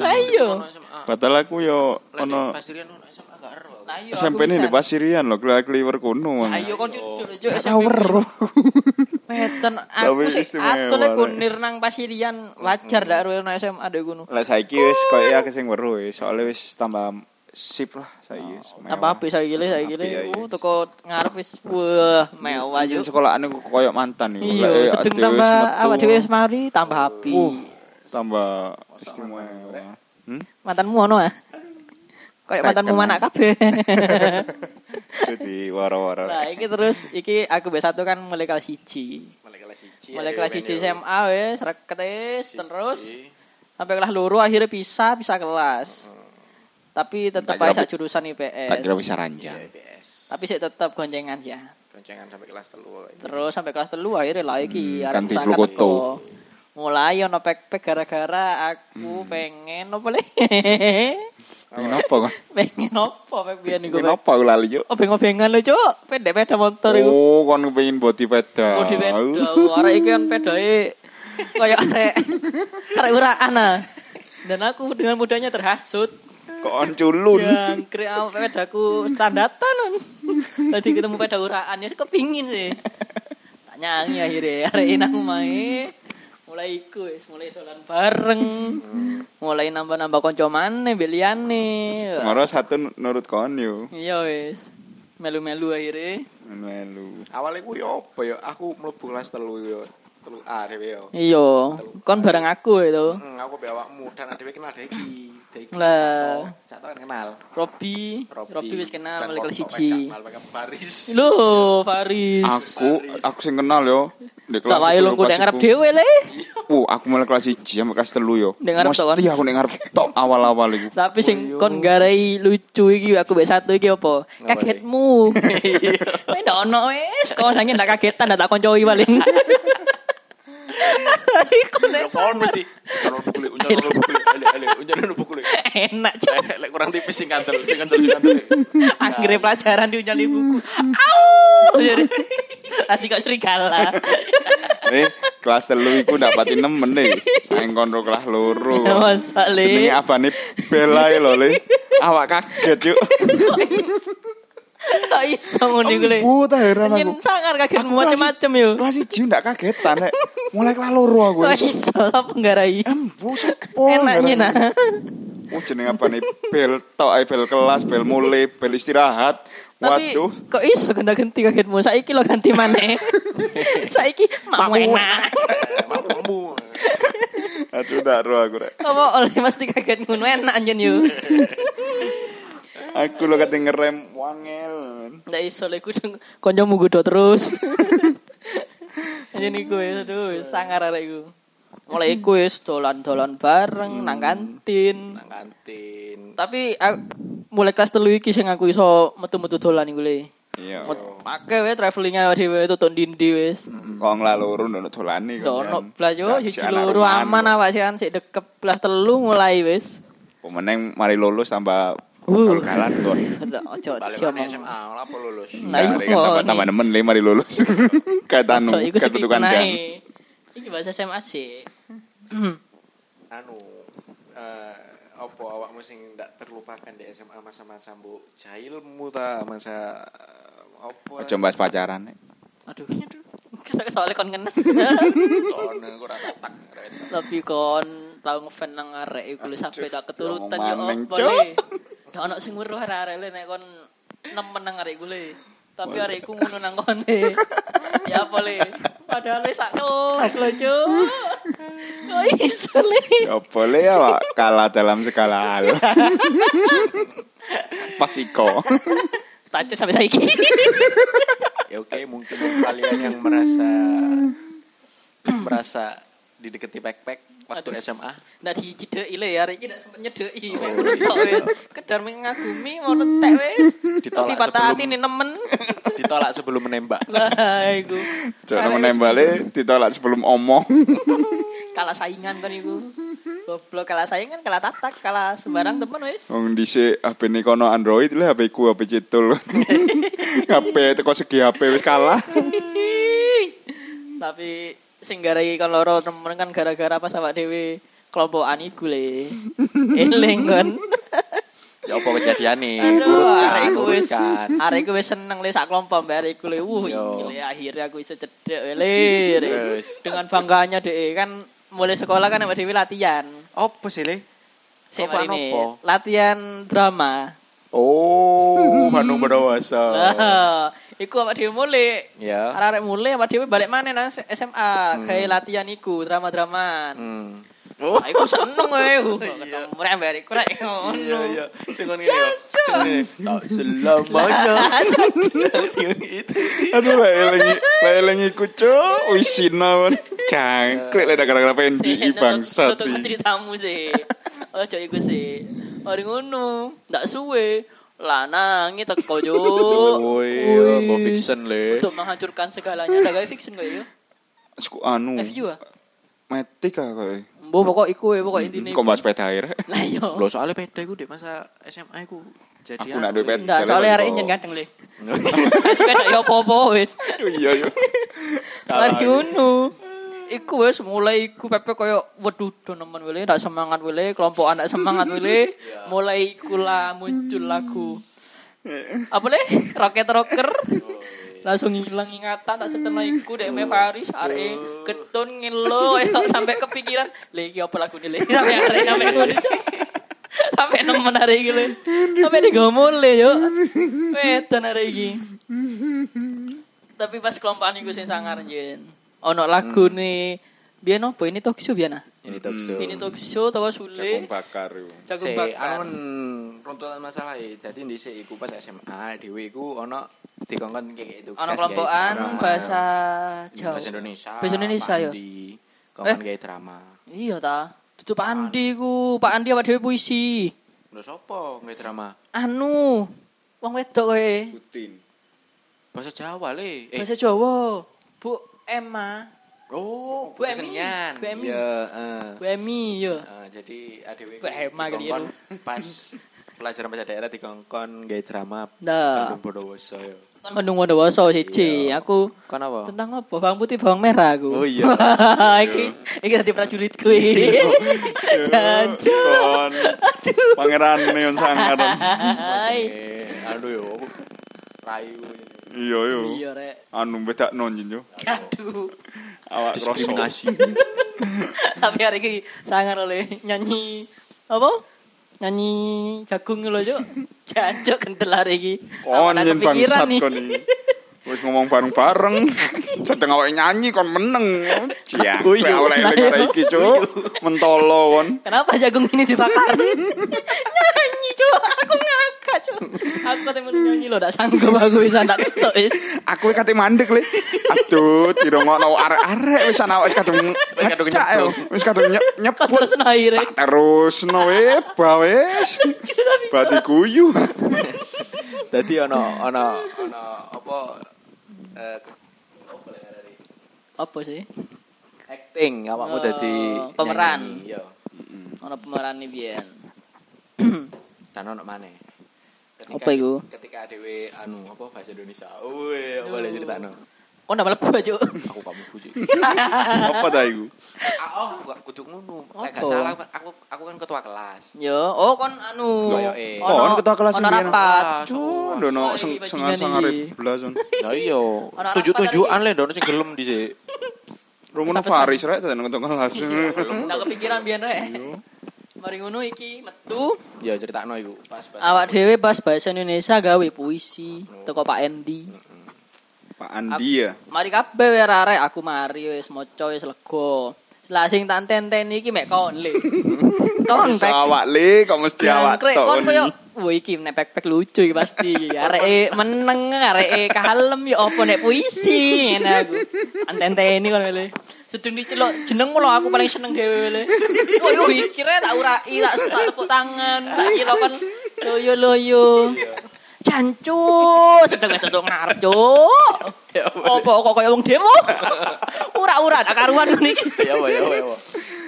Speaker 1: Lah iya.
Speaker 3: Gunung SMA.
Speaker 2: Batal aku yo
Speaker 3: Ono
Speaker 2: ono
Speaker 3: pasirian ono SMA gak ero. aku.
Speaker 1: Lah, iya, aku Ah,
Speaker 2: SMP ini
Speaker 1: pisan.
Speaker 2: di Pasirian loh, keliwer kuno.
Speaker 1: Lah, Ayo kon
Speaker 3: Oh.
Speaker 1: cucuk cucuk SMP.
Speaker 2: Tower.
Speaker 1: Weton
Speaker 2: Tapi
Speaker 1: aku sih
Speaker 2: istimewa,
Speaker 1: atule
Speaker 2: Rek.
Speaker 1: kunir nang pasirian wajar
Speaker 3: Hmm.
Speaker 1: dak ruwe nang SMA dek kuno.
Speaker 2: Lah saiki wis koyo
Speaker 1: Oh.
Speaker 2: ya kesing weruh wis, soalnya wis tambah sip lah saiki. wis, mewah.
Speaker 1: Apa api Oh. saiki le saiki
Speaker 2: Apik,
Speaker 1: le.
Speaker 2: ya,
Speaker 1: Uh
Speaker 2: iya.
Speaker 1: teko ngarep wis wah mewah yo.
Speaker 2: Anjing sekolahan aku koyo mantan iku. Lah, eh,
Speaker 1: Iya, sedeng
Speaker 2: adewe wis
Speaker 1: tambah
Speaker 2: metu.
Speaker 1: awak dhewe wis mari tambah api.
Speaker 2: Uh, tambah istimewa. Hmm?
Speaker 1: Mantanmu ono ah. Kayak mantanmu
Speaker 2: Tekken.
Speaker 1: anak kabeh.
Speaker 2: Jadi waro-waro.
Speaker 1: Nah, iki terus iki aku B1 kan mulai kelas 1.
Speaker 3: Mulai kelas 1.
Speaker 2: Iya,
Speaker 1: Mulai kelas 1 SMA wis reket wis, terus sampai kelas loro akhirnya pisah, pisah kelas. Tapi tetep
Speaker 2: Hmm. Tak kira
Speaker 1: ae sak jurusan
Speaker 2: Tak kira
Speaker 1: IPS.
Speaker 2: bisa
Speaker 3: ya,
Speaker 2: ranjang.
Speaker 3: IPS.
Speaker 1: Tapi sih tetep goncengan ya.
Speaker 3: Goncengan sampai kelas 3.
Speaker 1: Terus sampai kelas telu akhirnya lah iki
Speaker 2: Hmm,
Speaker 1: arep
Speaker 2: kan di
Speaker 1: berangkat
Speaker 2: Blukoto.
Speaker 1: teko. Mulai ono pek-pek gara-gara
Speaker 2: Hmm.
Speaker 1: aku pengen opo le?
Speaker 2: Pengen apa kan?
Speaker 1: pengen opo pek biyen iku.
Speaker 2: Pengen apa aku lali yo?
Speaker 1: Oh bengok-bengan lho, Cuk. Pendek-pendek motor iku.
Speaker 2: Oh, kon pengen body pedal.
Speaker 1: Oh, di peda. Arek iki kan pedae kaya arek arek uraan ah. Dan aku dengan mudahnya terhasut.
Speaker 2: Kok on culun.
Speaker 1: Yang kira pedaku standatan. Nun. Tadi ketemu peda uraan ya kepingin sih. Tak nyanyi akhirnya arek ini aku main. Mulai iku wis, mulai dolan bareng. Mulai nambah-nambah konco maneh, mbek liyane.
Speaker 2: Moro satu nurut kon yo.
Speaker 1: Iya wis. Melu-melu akhirnya.
Speaker 2: Melu.
Speaker 3: Awalnya ku yo apa yo aku mlebu kelas 3 yo. 3A dhewe yo.
Speaker 1: Iya, kon bareng aku itu.
Speaker 3: Hmm, aku be awakmu dan adewe kenal Deki. Deki.
Speaker 1: Lah.
Speaker 3: Cak Tok kan kenal.
Speaker 1: Robi,
Speaker 3: Robi.
Speaker 1: Robi wis kenal
Speaker 3: Dan
Speaker 1: mulai kelas
Speaker 3: kok- kok
Speaker 1: siji.
Speaker 3: Kenal pakai Paris.
Speaker 1: Lho, Faris.
Speaker 2: Aku aku sing kenal yo. Di Ah, kelas
Speaker 1: Sawae
Speaker 2: iku
Speaker 1: lho
Speaker 2: lho,
Speaker 1: ku
Speaker 2: pas
Speaker 1: nek ngarep
Speaker 2: iku.
Speaker 1: dhewe le.
Speaker 2: Uh, aku mulai kelas 1 sampai kelas 3 yo.
Speaker 1: Nek ngarep tok,
Speaker 2: Mesti
Speaker 1: kan?
Speaker 2: aku nek ngarep tok awal-awal iku.
Speaker 1: Tapi sing kon garai lucu iki aku mek satu iki apa? Kagetmu. Kowe ndak ono wis, kon sange ndak kagetan ndak tak koncoi paling. Iku
Speaker 2: Iya,
Speaker 1: nek
Speaker 3: Yo kon mesti kalau pukul unjan kalau pukul ale ale unjan kalau pukul.
Speaker 1: enak cuk.
Speaker 3: Lek kurang tipis sing kantel, sing kantel sing kantel.
Speaker 1: Akhirnya pelajaran diunjali
Speaker 2: Hmm.
Speaker 1: buku. Au. Jadi tadi kok serigala.
Speaker 2: Eh, kelas 3 iku dapati 6 menit. Saing konro kelas loro.
Speaker 1: Masa le.
Speaker 2: Jenenge abane Bela lho le. Awak kaget yuk.
Speaker 1: Tak iso ngono iku le.
Speaker 2: Ampun, tak heran aku.
Speaker 1: Nyen sangar kagetmu
Speaker 2: kelas-
Speaker 1: macam-macam yo.
Speaker 2: Kelas 1 ndak kagetan nek mulai kelas loro aku. eh.
Speaker 1: Kok iso lah penggarai.
Speaker 2: Embu sopo.
Speaker 1: Enaknya nah.
Speaker 2: Oh jeneng apa nih? Bel tok ae bel kelas, bel mulai, bel istirahat.
Speaker 1: Tapi
Speaker 2: Waduh.
Speaker 1: kok iso kena ganti kagetmu? Saiki lo ganti maneh. Saiki mau enak.
Speaker 3: Mampu.
Speaker 2: Aduh ndak ro aku rek.
Speaker 1: Apa oleh mesti kaget ngono enak anjen yo.
Speaker 2: Aku lo kate ngerem wangel.
Speaker 1: Ndak iso lek kudu konjomu gudo terus. Anjen iku wis aduh wis sangar arek iku. Mulai iku wis dolan-dolan bareng nang kantin.
Speaker 3: Nang kantin.
Speaker 1: Tapi aku- mulai kelas telu iki sing aku iso metu-metu dolan iku le.
Speaker 2: Iya.
Speaker 1: Pakai we traveling ae dhewe itu ton dindi wes.
Speaker 2: Kok ngelaloro ndak dolane kok.
Speaker 1: Dono
Speaker 2: Jan.
Speaker 1: blas yo
Speaker 2: Sa-
Speaker 1: siji
Speaker 2: sa-
Speaker 1: loro
Speaker 2: rumahan,
Speaker 1: aman
Speaker 2: kok.
Speaker 1: awak sih kan sik dekep blas telu mulai wis.
Speaker 2: Pemenang mari lulus tambah
Speaker 1: Uh.
Speaker 2: kalan kon.
Speaker 1: Aduh, Ojo
Speaker 3: Balik
Speaker 1: ojo
Speaker 3: mana
Speaker 1: ngomong.
Speaker 3: SMA, lapo lulus.
Speaker 1: Nah, iya,
Speaker 2: tambah tambah
Speaker 1: nih.
Speaker 2: nemen le mari lulus. Kaitan
Speaker 1: Ojo iku sik
Speaker 2: ketutukan
Speaker 1: nae.
Speaker 2: kan.
Speaker 1: Iki bahasa SMA sih.
Speaker 3: anu eh apa awakmu sing ndak terlupakan di SMA masa-masa mbok jahilmu ta masa eh, apa
Speaker 2: Aja bahas pacaran.
Speaker 1: Aduh. Kesel soalnya kon ngenes.
Speaker 3: ono Oh, ora tak
Speaker 1: Tapi kon tau ngefan nang arek iku lho sampe tak keturutan yo
Speaker 2: omongan,
Speaker 1: opo
Speaker 2: Cuk.
Speaker 1: le. Dak ono sing weruh arek-arek le nek kon nemen nang arek gule. Tapi arekku ngono nang kone. ya apa le? Padahal le sak kelas lo, Cuk. Kok iso le?
Speaker 2: Ya boleh ya Pak, kalah dalam segala hal. Pasiko.
Speaker 1: Tancep sampai saiki.
Speaker 3: ya oke mungkin kalian yang merasa merasa dideketi backpack waktu
Speaker 1: Aduh.
Speaker 3: SMA
Speaker 1: Ndak dicideki le ya, arek iki ndak sempet nyedeki.
Speaker 3: Oh,
Speaker 1: Mek ngono tok wis. Kedar mengagumi ngono tek wis.
Speaker 3: Ditolak
Speaker 1: Tapi patah
Speaker 3: sebelum-
Speaker 1: hati nih nemen.
Speaker 3: ditolak sebelum menembak
Speaker 1: Lah iku. Arek
Speaker 2: Jangan
Speaker 1: wis
Speaker 2: menembale ditolak sebelum omong.
Speaker 1: Kalah saingan kan iku. Goblok kalah saingan, kalah tatak, kalah sembarang temen wis.
Speaker 2: Wong dhisik HP ini kono Android lah HP ku HP cetul. HP teko segi HP wis kalah.
Speaker 1: Tapi sing gara iki kon loro temen kan gara-gara pas awak dhewe kelompokan iku le. Eling kon.
Speaker 3: ya apa kejadian nih
Speaker 1: Aduh,
Speaker 3: turutkan
Speaker 1: arek iku wis
Speaker 3: turutkan
Speaker 1: arek iku wis seneng le sak kelompok mbak arek iku le. Wuh, iki
Speaker 3: Yo.
Speaker 1: le akhirnya aku iso cedek we, le. arek iku.
Speaker 3: Wes.
Speaker 1: Dengan bangganya dhek kan mulai sekolah kan awak dhewe latihan.
Speaker 3: apa sih le
Speaker 1: Sik
Speaker 3: Apa,
Speaker 1: marine.
Speaker 3: apa?
Speaker 1: Latihan drama.
Speaker 3: oh Bandung Badawasa
Speaker 1: Lah, iku awak dhewe mulai
Speaker 3: ya
Speaker 1: Arek-arek mulai apa dhewe balik maneh nang SMA, gawe latihan iku drama-draman.
Speaker 3: hmm.
Speaker 1: Nah, iku seneng kowe. Ketemu rek mbak iku rek ngono.
Speaker 3: Iya, iya. Sing ngono iki lho. Sing ngono iki. Tak selamanya. Yang itu.
Speaker 2: Aduh lah elengi, lah elengi ku cuk. Wisina men. Cangkrik lah gara-gara
Speaker 1: Sih,
Speaker 2: PNBI bangsat.
Speaker 1: Tutup
Speaker 2: iki.
Speaker 1: ceritamu sih. Ojo iku sih. Ori ngono, ndak suwe. Lanangi teko yo.
Speaker 3: Woi, apa fiction le?
Speaker 1: Untuk menghancurkan segalanya, tak gawe fiction kowe yo.
Speaker 2: Sku
Speaker 3: Hmm.
Speaker 2: anu.
Speaker 1: Review ah.
Speaker 2: Metik ah kowe.
Speaker 1: Mbok pokok iku we, pokok intine.
Speaker 2: Kok bahas sepeda air?
Speaker 1: Lah yo.
Speaker 3: Loh, soalnya pede gue di masa SMA ku jadi
Speaker 2: Aku nak
Speaker 3: anu,
Speaker 2: duwe
Speaker 3: Le.
Speaker 2: pede.
Speaker 1: Ndak, soalnya arek nyen kadang le. Sepeda yo apa-apa wis.
Speaker 2: Iya iya.
Speaker 1: Lari ngono. Iku wes mulai iku Pepe koyo waduh do nemen wele ndak semangat wele kelompok anak semangat wele mulai iku lah muncul lagu. Apa le? Rocket Rocker. Langsung hilang ingatan tak setelah iku dek me Faris are ketun ngelo ya sampai kepikiran le iki apa lagu le sampai are sampai ngono. Cok. Sampai nemen hari iki le. Sampai digomol le yo. Wetan hari iki. Tapi pas kelompokan iku sing sangar
Speaker 3: Hmm.
Speaker 1: jen. Ono lagu nih. Biar nopo ini Tokyo biar nah.
Speaker 3: Ini Hmm. talk show.
Speaker 1: ah? Ini Tokyo toko Sule.
Speaker 2: bakar yo.
Speaker 1: Jagung
Speaker 3: Se, anu
Speaker 1: bakar.
Speaker 3: men, runtutan masalah e. Jadi dhisik iku pas SMA dhewe iku ono dikongkon kayak itu.
Speaker 1: Ono kelompokan bahasa Jawa.
Speaker 3: bahasa Indonesia.
Speaker 1: Bahasa Indonesia
Speaker 3: Pak
Speaker 1: yo.
Speaker 3: Andi. Kongkon
Speaker 1: Eh.
Speaker 3: kayak drama.
Speaker 1: Iya ta. Itu Pak Andi ku, Pak Andi apa dhewe puisi.
Speaker 3: Lho sapa kayak drama?
Speaker 1: Anu. Wong wedok kowe.
Speaker 3: Eh.
Speaker 2: Putin.
Speaker 3: Bahasa Jawa le. Eh,
Speaker 1: Bahasa Jawa. Bu Emma,
Speaker 3: Oh,
Speaker 1: Bu Emi.
Speaker 3: kesenian.
Speaker 1: Bu Emi.
Speaker 3: Iya, eh.
Speaker 1: Bu Emi yo.
Speaker 3: Eh, jadi adewe
Speaker 1: Bu Ema kali ya, lu.
Speaker 3: pas pelajaran bahasa daerah dikongkon gay drama.
Speaker 1: Nah.
Speaker 3: Bandung Bondowoso ya.
Speaker 1: Kan Bandung Wonowoso siji.
Speaker 3: Iya.
Speaker 1: Aku
Speaker 3: Kon apa?
Speaker 1: tentang apa? Bawang putih, bawang merah aku.
Speaker 3: Oh iya.
Speaker 1: iki iki dadi prajurit kuwi. Jancu.
Speaker 2: Kon. Pangeran neon sangar.
Speaker 1: Hai.
Speaker 3: Eh, Aduh yo. aku Rayu.
Speaker 2: Iya yo.
Speaker 1: Iya rek.
Speaker 2: Anu bedak nonjin yo.
Speaker 1: Aduh.
Speaker 2: Awak kroso.
Speaker 3: Diskriminasi.
Speaker 1: Tapi hari ini sangar oleh nyanyi apa? Nyanyi jagung lho, Cuk. Jancuk kentel hari iki.
Speaker 2: Kon
Speaker 1: Awak
Speaker 2: yen
Speaker 1: tak kepikiran
Speaker 2: bangsat
Speaker 1: nih.
Speaker 2: kon iki. Wis ngomong bareng-bareng. Sedeng awake nyanyi kon meneng. Jiang.
Speaker 3: Guyu.
Speaker 2: Awak lek karo iki, Cuk. Mentolo kon.
Speaker 1: Kenapa jagung ini dibakar? nyanyi, Cuk. Aku ngakak, Cuk. Aku ketemu nyanyi lho, ndak sanggup aku bisa ndak ketuk. wis.
Speaker 2: Aku kate mandek le. Aduh, dirungokno arek-arek wis ana wis kadung
Speaker 3: Wis kadung
Speaker 2: ngecak, yo. Wis kadung nyep-
Speaker 1: Kon
Speaker 2: nyebut.
Speaker 1: terus naire.
Speaker 2: Tak terus no we, bawes. Bati guyu.
Speaker 3: Dadi ono ono ono apa eh, apa lah ngarani?
Speaker 1: Apa sih?
Speaker 3: acting awakmu
Speaker 1: Oh,
Speaker 3: dadi iya.
Speaker 1: pemeran.
Speaker 3: nyanyi, Yo.
Speaker 1: Ono pemeran nih biyen.
Speaker 3: Dan ono maneh. Ketika-
Speaker 1: Apa iku?
Speaker 3: Ketika adewe anu apa bahasa Indonesia. Woi, apa le critakno?
Speaker 1: Oh, ndak mlebu, Cuk.
Speaker 3: Aku kamu puji.
Speaker 2: Apa ta iku?
Speaker 3: Ah, Oh, gak kudu ngono. Lek gak
Speaker 1: Apa?
Speaker 3: salah aku aku kan ketua kelas.
Speaker 1: Yo, oh kon anu.
Speaker 3: Loh, yo, eh.
Speaker 1: Ono-
Speaker 2: Kon ketua kelas
Speaker 1: ono
Speaker 2: sendirian.
Speaker 1: rapat.
Speaker 2: Duh, Oh, ndono
Speaker 1: Wah,
Speaker 2: seng-
Speaker 1: bajingan
Speaker 2: sengar-sangare
Speaker 1: iki.
Speaker 2: belasan.
Speaker 3: Ah, Lah iya.
Speaker 1: rapat
Speaker 3: Tujuh-tujuan le ndono sing gelem dhisik.
Speaker 2: Rungono
Speaker 1: Pesan-pesan.
Speaker 2: Faris rek tenan ngetong kelas.
Speaker 1: Nggak kepikiran biar rek. Mari ngono iki metu
Speaker 3: Ya ceritakno iku. Pas pas.
Speaker 1: awak dhewe pas bahasa Indonesia gawe puisi teko Pak Endi.
Speaker 4: Pak Andi ya.
Speaker 1: Mari kabeh wae arek aku mari wis maca wis lega. Lah sing tak tenteni iki mek kon le. Kon
Speaker 4: Bisa
Speaker 1: pek.
Speaker 4: awak le, kok mesti awak
Speaker 1: Jangkrik,
Speaker 4: tok.
Speaker 1: kon
Speaker 4: ini.
Speaker 1: koyo Wah iki nek pek-pek lucu iki pasti iki. Areke meneng, areke kalem ya apa nek puisi ngene aku. Antenteni kon wele. Sedeng diceluk jeneng mulo aku paling seneng dhewe wele. Oh yo pikire tak urai, tak tak tepuk tangan, tak kira kon loyo-loyo. Jancu, sedeng sedeng ngarep, Cuk. Apa kok kaya wong demo? Ura-ura tak karuan kon iki.
Speaker 3: Ya apa ya apa, ya apa.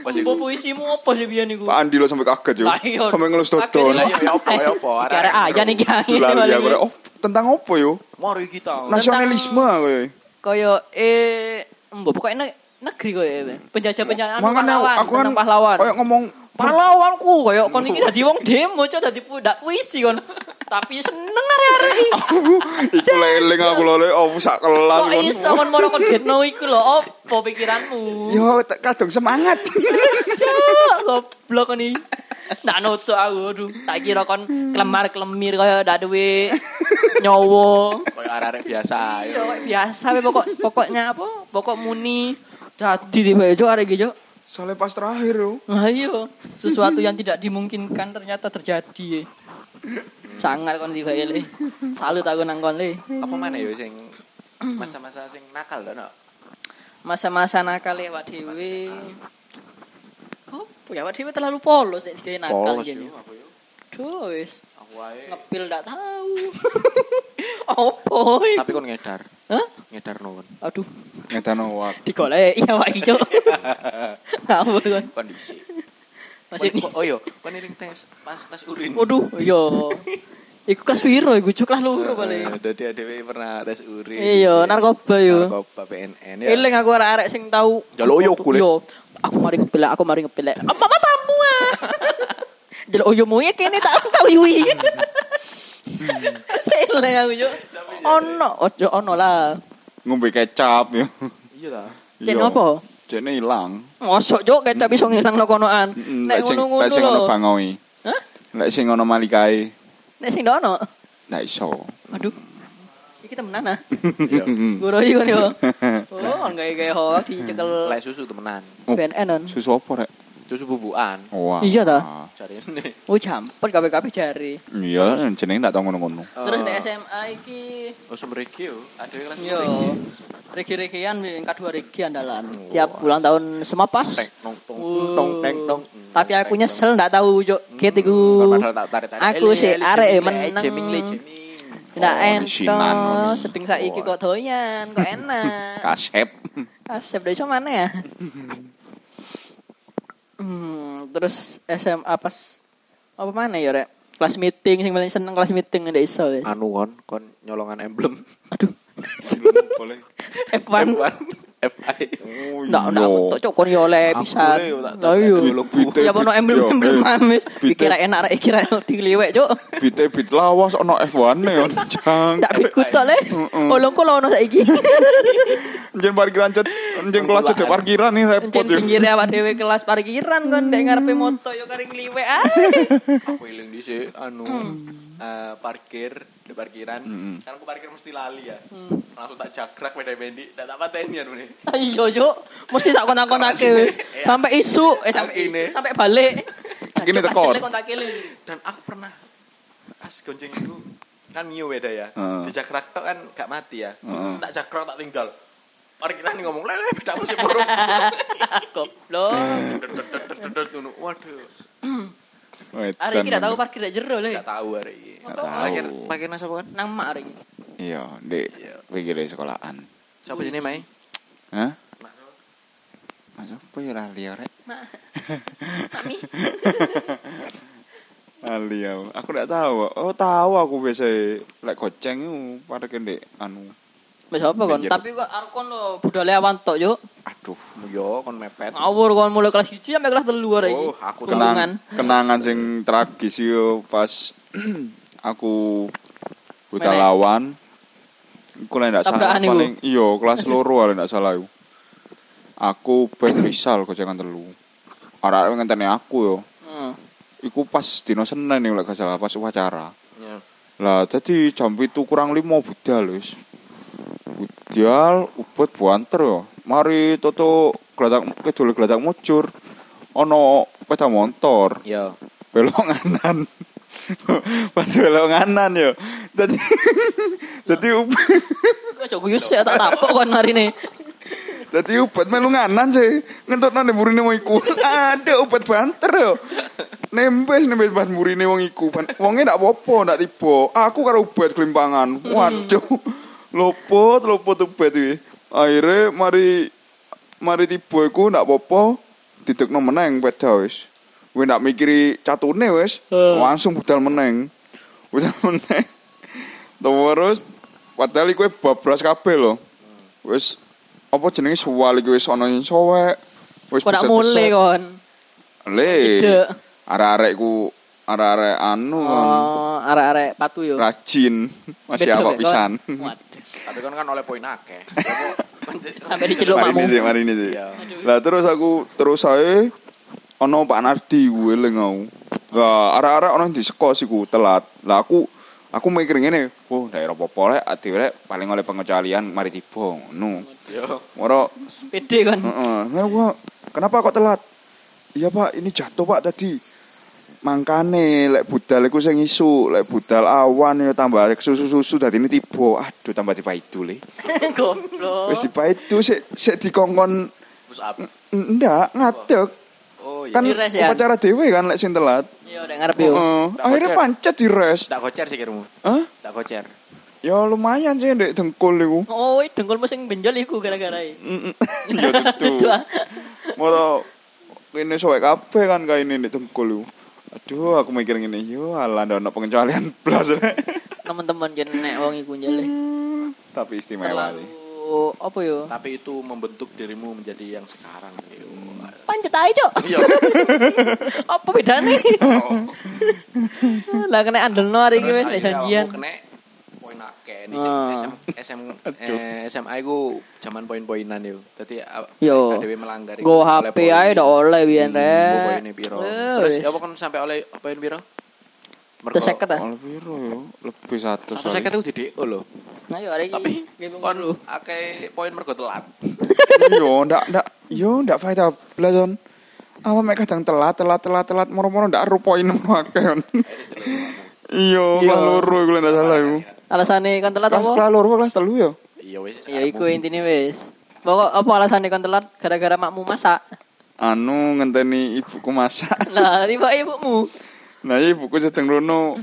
Speaker 3: Pas
Speaker 1: Apa
Speaker 3: iku.
Speaker 1: puisimu apa sih biyen iku?
Speaker 2: Pak Andi lo sampai kaget yo.
Speaker 1: Lah, iya.
Speaker 2: Sampai ngelus dodol.
Speaker 1: Kaget,
Speaker 3: Ya ya apa ya apa.
Speaker 1: Iki arek aja nih
Speaker 2: Duh, Lalu ya gue, oh tentang apa yo?
Speaker 3: Mari kita.
Speaker 1: Nah,
Speaker 2: Nasionalisme kowe.
Speaker 1: Kaya eh mbok pokoke ne negeri koyo eh, penjajah-penjajah anu
Speaker 2: Makanya
Speaker 1: pahlawan,
Speaker 2: aku kan
Speaker 1: tentang pahlawan.
Speaker 2: kayak ngomong
Speaker 1: Pahlawanku koyo kon iki dadi wong demo cok dadi pu- dak puisi kon. Tapi seneng arek-arek iki.
Speaker 2: iku leling aku lho oh sak kelas
Speaker 1: Kok
Speaker 2: kon.
Speaker 1: iso kon mono kon getno iku lho opo pikiranmu?
Speaker 2: Yo tak- kadung semangat.
Speaker 1: Cok, goblok kon iki. Ndak nutuk aku aduh. Tak kira kon
Speaker 2: Hmm.
Speaker 1: kelemar-kelemir koyo ndak duwe nyowo.
Speaker 3: Kayak arek biasa.
Speaker 1: Yo
Speaker 3: ya.
Speaker 1: Iya, kayak biasa we pokok pokoknya apa? Pokok muni. Dadi tiba-tiba arek iki Cok.
Speaker 2: Soalnya pas terakhir yo.
Speaker 1: Nah iya, sesuatu yang tidak dimungkinkan ternyata terjadi. Sangat kon tiba le. Salut aku nang kon le.
Speaker 3: Apa mana yo sing masa-masa sing nakal lho no.
Speaker 1: Masa-masa nakal ya Pak Dewi. Apa ya Pak Dewi terlalu polos nek digawe nakal iya,
Speaker 3: Polos
Speaker 1: gini.
Speaker 3: yo Oh, iya, aku yo.
Speaker 1: Duh wis,
Speaker 3: Aku wae.
Speaker 1: ngepil ndak tahu. Opo?
Speaker 3: Tapi kon ngedar.
Speaker 1: Hah?
Speaker 3: Ngedar nuwun.
Speaker 1: Aduh,
Speaker 2: Ngedano wak.
Speaker 1: digolek iya Pak Ijo. Ngawur kon.
Speaker 3: Kondisi.
Speaker 1: Masih
Speaker 3: Kon- Oh yo, kon eling tes pas tes urin.
Speaker 1: Waduh, iya. Iku kas piro iku cuk lah loro paling.
Speaker 3: Dadi adewe pernah tes urin.
Speaker 1: Iya, narkoba yo.
Speaker 3: Narkoba PNN
Speaker 2: Iya.
Speaker 3: ya.
Speaker 1: Eling aku arek-arek sing tau.
Speaker 2: Ya
Speaker 3: Jaluk uyuh aku, Le.
Speaker 1: Yo, aku mari kepilek, aku mari kepilek. Apa matamu ah? Jaluk uyuhmu ya kene tak tak uyuhi.
Speaker 2: Hmm.
Speaker 1: Eling aku yo. Ono, ojo ono lah.
Speaker 2: Ngombe kecap yo.
Speaker 3: Iya ta.
Speaker 1: Cek
Speaker 2: Iya.
Speaker 1: apa?
Speaker 2: Jene ilang.
Speaker 1: Mosok jo kecap iso ngilangno konoan.
Speaker 2: Mm-mm,
Speaker 1: Nek
Speaker 2: Lek sing
Speaker 1: ngono-ngono
Speaker 2: lek sing ono
Speaker 1: lho.
Speaker 2: bangoi.
Speaker 1: Hah?
Speaker 2: Lek sing ono malikae.
Speaker 1: Nek sing ndak ono.
Speaker 2: Ndak iso.
Speaker 1: Aduh. Iki temenan ah.
Speaker 3: Iya.
Speaker 1: Guru iki kon yo. Oh, enggak kayak hoak dicekel
Speaker 3: Lek susu temenan.
Speaker 2: Oh,
Speaker 1: BNN on.
Speaker 2: Susu apa rek?
Speaker 3: Susu bubukan.
Speaker 2: Wah.
Speaker 1: Iya ta?
Speaker 3: Cari ini.
Speaker 1: Oh, jampet kabeh-kabeh jari.
Speaker 2: Iya, jenenge ndak tau ngono-ngono.
Speaker 1: Terus di SMA iki
Speaker 3: Oh, sumber iki yo. Adewe kelas
Speaker 1: yo
Speaker 3: sumber iki.
Speaker 1: regi-regian tingkat dua regi andalan. Tiap bulan tahun semapas.
Speaker 3: Teng tong tong
Speaker 1: Wuh.
Speaker 3: tong teng tong. Hmm,
Speaker 1: Tapi aku nyesel ndak tahu yo get iku.
Speaker 3: Padahal tak tarik-tarik.
Speaker 1: Aku
Speaker 3: Eh, le,
Speaker 1: sih
Speaker 3: le,
Speaker 1: arek
Speaker 3: jeming,
Speaker 1: meneng.
Speaker 3: le, jeming, le, jeming.
Speaker 1: Ndak
Speaker 2: Oh, sinan,
Speaker 1: entok.
Speaker 2: Mami.
Speaker 1: Sedeng saiki kok doyan, kok enak.
Speaker 2: Kasep.
Speaker 1: Kasep dari mana ya? Hmm, terus SMA pas apa mana ya, Rek? Kelas meeting sing paling seneng kelas meeting ndak iso wis.
Speaker 3: Anu kon kon nyolongan emblem.
Speaker 1: Aduh,
Speaker 2: Boleh.
Speaker 1: F1.
Speaker 3: F1. FI.
Speaker 2: Oh,
Speaker 1: Ndak ndak
Speaker 2: Yo.
Speaker 1: aku tok kon yo oleh
Speaker 3: Aku
Speaker 1: pisan.
Speaker 3: le, tak- tak-
Speaker 1: Lah iya.
Speaker 2: Dulu bite-
Speaker 1: Ya ono
Speaker 2: yo,
Speaker 1: emblem emblem
Speaker 2: eh,
Speaker 1: mamis.
Speaker 2: bite-
Speaker 1: Dikira enak rek kira diliwek, Cuk.
Speaker 2: Bite bit lawas ono F1 ne on. Jang.
Speaker 1: Ndak pikut tok le. Bolongku lo ono saiki.
Speaker 2: Njen parkiran cet, njen kelas cedek parkiran nih repot
Speaker 1: Encen
Speaker 2: yo.
Speaker 1: pinggire awak dhewe kelas parkiran kon ndek ngarepe moto yo kari ngliwek ah.
Speaker 3: Aku eling dhisik anu eh, parkir di parkiran. Kan aku parkir mesti lali ya. Langsung tak jagrak beda-bendi, tak tak pateni anu ne.
Speaker 1: Iya, Cuk. Mesti tak kontak-kontake
Speaker 3: Keras ini.
Speaker 1: wis. Sampai isu, eh sampai
Speaker 3: Kaki ini.
Speaker 1: isu, sampai balik.
Speaker 2: Kaki ini
Speaker 1: Cuk,
Speaker 2: tekor.
Speaker 1: pacele kontak kili.
Speaker 3: Dan aku pernah pas gonceng itu kan Mio beda ya.
Speaker 2: Heeh.
Speaker 3: Di jagrak tok kan gak mati ya.
Speaker 2: Heeh.
Speaker 3: Tak jagrak tak tinggal. Parkiran ini ngomong lele beda mesti burung.
Speaker 1: Ah, Goblok.
Speaker 3: Waduh,
Speaker 1: Hari ini gak tahu parkir gak jero le.
Speaker 3: gak tahu hari ini.
Speaker 1: Gak
Speaker 2: tahu.
Speaker 3: Parkir parkir nang sapa kan?
Speaker 1: Nang mak hari ini.
Speaker 2: Iya, di pinggir sekolahan.
Speaker 3: Sapa jenenge Mai?
Speaker 2: Hah? Mas apa ya lali ya, rek?
Speaker 1: Mami.
Speaker 2: Lali ya. Aku ndak tahu. Oh, tahu aku biasa lek goceng iku parkir ndek anu.
Speaker 1: Wis apa kon?
Speaker 2: Banjir.
Speaker 1: Tapi kok arek kon lo budale awan tok yo.
Speaker 2: Aduh.
Speaker 3: Yo kon mepet.
Speaker 1: Ngawur kon mulai kelas 1 sampai kelas 3 hari ini.
Speaker 3: Oh, aku
Speaker 2: Kenang, kenangan sing tragis yo pas aku buta
Speaker 1: Menek.
Speaker 2: lawan. Iku lek ndak salah
Speaker 1: Tabrakan iku.
Speaker 2: paling iya kelas loro lek ndak salah iku. Aku ben risal gocengan telu. Arek ngenteni aku yo.
Speaker 1: Hmm.
Speaker 2: iku pas dino Senin nih gak salah pas upacara.
Speaker 3: Ya.
Speaker 2: Lah tadi jam itu kurang lima budal wis. Budal ubet buanter yo. Mari toto geladak kedul geladak mucur. Ono sepeda motor
Speaker 3: Yo.
Speaker 2: belok nganan. pas belok nganan yo. Tadi tadi ubet
Speaker 1: Kok jok guyus ya tak tapok kon hari ini.
Speaker 2: Dadi ubat melu nganan sih. Ngentutno nek murine wong iku. Ada ubat banter yo. Nembes nembes ban murine wong iku. Ban- Wonge ndak apa-apa, ndak tiba. Aku karo ubat kelimpangan. Waduh. Lopot, lopot ubat iki. Akhirnya mari mari tiba iku ndak apa-apa. Didekno meneng peda wis. Kowe ndak mikiri catune wis. Langsung budal meneng. Budal meneng. Terus padahal iku bablas kabeh lho. Wis apa jenenge suwal iki wis ana sing sowek. Wis
Speaker 1: Kok nak
Speaker 2: beset-beset.
Speaker 1: mulai kon.
Speaker 2: Le.
Speaker 1: Ide.
Speaker 2: Arek-arek ku arek-arek anu
Speaker 3: Hmm.
Speaker 2: kan,
Speaker 1: Oh, arek-arek patu yo.
Speaker 2: rajin
Speaker 1: Beda,
Speaker 2: masih apa
Speaker 1: Bek, kon.
Speaker 2: pisan.
Speaker 1: Waduh.
Speaker 3: Tapi kan kan oleh poin akeh.
Speaker 1: Sampai diceluk
Speaker 2: Mari ini
Speaker 1: makmu.
Speaker 2: sih, mari ini sih.
Speaker 3: Iya.
Speaker 2: Lah terus aku terus ae ana Pak Nardi kuwi eling aku. Lah arek-arek ana di seko siku telat. Lah aku aku mikir ngene, oh daerah popo lek ati lek paling oleh pengecualian mari tiba ngono.
Speaker 3: Yo.
Speaker 2: Ora
Speaker 1: Pede kon.
Speaker 3: Hmm.
Speaker 2: Heeh. Nah, gua, kenapa kok telat? Iya pak, ini jatuh pak tadi. Mangkane lek budal iku sing isu, lek budal awan ya tambah susu-susu dadi ini tiba. Aduh tambah tiba itu le.
Speaker 1: Goblok.
Speaker 2: Wis tiba itu sik sik dikongkon
Speaker 3: Push up.
Speaker 2: ndak ngatek.
Speaker 3: Oh iya.
Speaker 2: Kan
Speaker 1: Di rest ya?
Speaker 2: upacara dhewe kan lek sing telat.
Speaker 1: Yo nek Iya, ngarep yo.
Speaker 3: Hmm.
Speaker 2: Heeh. Akhirnya pancet di rest.
Speaker 3: Ndak kocer sikirmu.
Speaker 2: Hah?
Speaker 3: Ndak kocer.
Speaker 2: Ya lumayan sih ndek dengkul iku.
Speaker 1: Oh, dengkulmu sing benjol iku gara-gara e. iki.
Speaker 3: Hmm.
Speaker 2: Ya
Speaker 1: Duh.
Speaker 2: tentu.
Speaker 1: ah.
Speaker 2: Moro kene soek kabeh kan kaine ndek dengkul iku. Aduh, aku mikir ngene, yo ala ndak ono pengecualian blas. Rek.
Speaker 1: Teman-teman yen nek wong iku
Speaker 3: Hmm.
Speaker 1: njele.
Speaker 2: Tapi istimewa
Speaker 1: Terlalu
Speaker 2: sih.
Speaker 1: apa yo?
Speaker 3: Tapi itu membentuk dirimu menjadi yang sekarang. Iya. Yo.
Speaker 1: Pancet ae, Cuk.
Speaker 3: Yo.
Speaker 1: Apa bedane? Lah kena andelno hari iki
Speaker 3: Oh. Terus
Speaker 1: wis nek
Speaker 3: akhirnya
Speaker 1: janjian.
Speaker 3: awakmu kena poin akeh nih
Speaker 1: Ah.
Speaker 3: SM SM eh, SMA iku zaman poin-poinan yo. Dadi ah, aw-
Speaker 1: Yo.
Speaker 3: adewe melanggar iku
Speaker 1: Go
Speaker 3: oleh
Speaker 1: HP ae
Speaker 3: poin. Hmm,
Speaker 1: dak oleh biyen
Speaker 3: Mbok
Speaker 1: rek.
Speaker 3: poinnya piro.
Speaker 1: Eh,
Speaker 3: Terus
Speaker 1: wis.
Speaker 3: ya apa kan sampai oleh poin piro? Mergo-
Speaker 1: Terus 50 ah.
Speaker 2: Ono piro yo? Lebih 100.
Speaker 3: Satu seket itu didik lho.
Speaker 1: Nah, yo hari iki.
Speaker 3: Tapi
Speaker 1: game
Speaker 3: kon
Speaker 1: lu.
Speaker 3: akeh poin mergo telat.
Speaker 2: Yo ndak ndak yo ndak faedah blas on. Apa mek kadang telat telat telat telat moro-moro ndak ero poin nemu akeh on. Iyo, kelas loro iku lek ndak salah iku.
Speaker 1: Alasane kon telat
Speaker 2: Kelas
Speaker 1: apa?
Speaker 2: kelas loro apa kelas telu yo.
Speaker 3: Iya wis.
Speaker 1: Ya iku intine wis. Pokok apa alasane kon telat gara-gara makmu masak.
Speaker 2: Anu ngenteni ibuku masak.
Speaker 1: Lah, tiba ibumu
Speaker 2: Nah, ibuku sedeng rono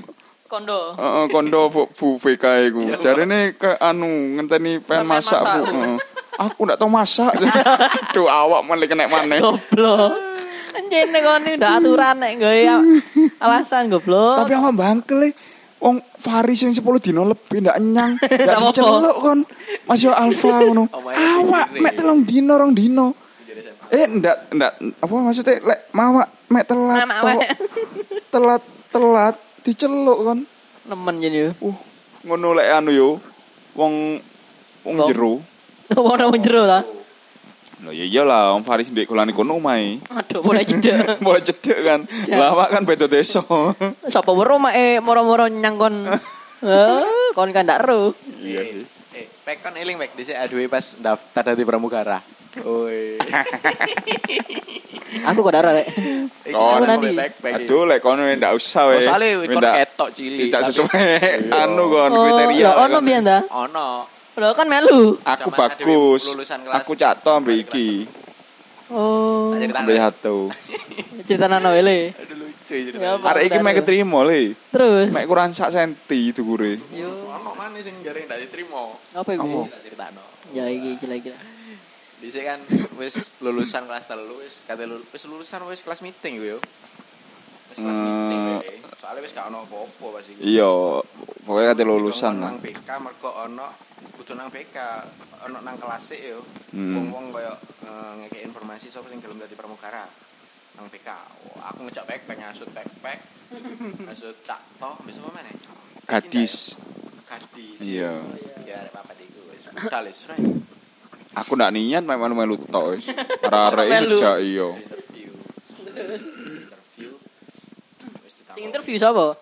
Speaker 1: kondo.
Speaker 2: Heeh, kondo bu, bu VK iku. Jarene ke anu ngenteni
Speaker 1: Pengen
Speaker 2: pengen masak, Bu.
Speaker 1: masak.
Speaker 2: Heeh. Aku ndak tau masak. Duh, awak malah kena maneh.
Speaker 1: Goblok. Anjene kon iki ndak aturan nek gawe a- alasan
Speaker 2: Tapi
Speaker 1: goblok.
Speaker 2: awak bangkel e. Wong Faris yang 10 dino lebih ndak enyang, ndak
Speaker 1: Ndak apa-apa. Oh
Speaker 2: diceluk kon. Masih alfa ngono.
Speaker 3: Omahe
Speaker 2: Awak
Speaker 3: sendiri.
Speaker 2: mek
Speaker 1: iya.
Speaker 2: telung dino rong dino. Eh ndak ndak apa maksudnya lek mawak mek telat
Speaker 1: Mawak.
Speaker 2: tolok. telat telat diceluk kon.
Speaker 1: Nemen yen yo.
Speaker 2: Uh, ngono lek anu yo. Wong wong
Speaker 1: Wong.
Speaker 2: jero.
Speaker 1: Wong nang jero ta.
Speaker 2: Loh ya iyalah, Om Faris ndek golani kono omahe.
Speaker 1: Aduh, boleh jeda.
Speaker 2: Mulai cedek kan.
Speaker 1: Iya.
Speaker 2: Lawak kan beda desa.
Speaker 1: Sapa weruh make moro-moro nyang kon. Eh, kon kan ndak ero.
Speaker 2: Iya sih.
Speaker 3: Eh, pek kon eling pek dhisik aduwe pas daftar dadi pramugara. Oi.
Speaker 1: Aku kok darah rek.
Speaker 3: Iki
Speaker 2: Kon.
Speaker 3: aku
Speaker 1: Nanti.
Speaker 3: pek pek.
Speaker 2: Aduh lek kono e ndak usah
Speaker 3: Oh,
Speaker 2: we.
Speaker 3: soalnya kon
Speaker 2: Ndak-
Speaker 3: ketok cilik.
Speaker 2: Tidak
Speaker 3: tapi
Speaker 2: sesuai
Speaker 3: Iya.
Speaker 2: anu kon
Speaker 1: Oh,
Speaker 2: kriteria.
Speaker 1: lho
Speaker 2: kon. kan.
Speaker 1: ono biyen ta?
Speaker 3: Ono.
Speaker 1: Lho kan melu.
Speaker 2: Aku
Speaker 3: Zaman
Speaker 2: bagus.
Speaker 3: Dewi lulusan kelas-
Speaker 2: Aku cato ambe iki.
Speaker 1: Oh.
Speaker 3: Tak cerita.
Speaker 2: Ambe satu.
Speaker 1: Cerita nano ele.
Speaker 3: Aduh lucu cerita.
Speaker 1: Ya, Pak.
Speaker 2: Arek iki mek ketrimo le.
Speaker 1: Terus.
Speaker 2: Mek kurang sak senti dhuwure.
Speaker 1: Yo.
Speaker 3: Ono mana sing jarang ndak
Speaker 2: Oh.
Speaker 3: diterima.
Speaker 1: Apa ibu?
Speaker 3: Tak ceritano.
Speaker 1: Ya iki gila-gila.
Speaker 3: Dhisik kan wis lulusan kelas 3 wis kate lul- wis lulusan wis kelas meeting gue yo. Wis kelas
Speaker 2: Hmm.
Speaker 3: meeting deh. Soalnya wis gak ono apa-apa pas iku.
Speaker 2: Iya, pokoknya kate lulusan
Speaker 3: Dikongkon
Speaker 2: lah.
Speaker 3: Nang BK mergo ono kudu nang BK, ono nang kelas e yo.
Speaker 2: Hmm.
Speaker 3: Wong-wong koyo eh, ngekek informasi sapa sing gelem dadi pramugara. Nang BK. Wah, aku ngejak pek pek ngasut pek pek. Ngasut cak toh besok apa meneh?
Speaker 2: Gadis.
Speaker 3: Gadis.
Speaker 2: Iya.
Speaker 3: Ya arek papat iku wis budal wis right.
Speaker 2: Aku ndak niat mek melu-melu tok wis. Arek-arek
Speaker 1: Melu.
Speaker 2: iki jak iya.
Speaker 3: interview. Interview.
Speaker 1: Sing interview sapa?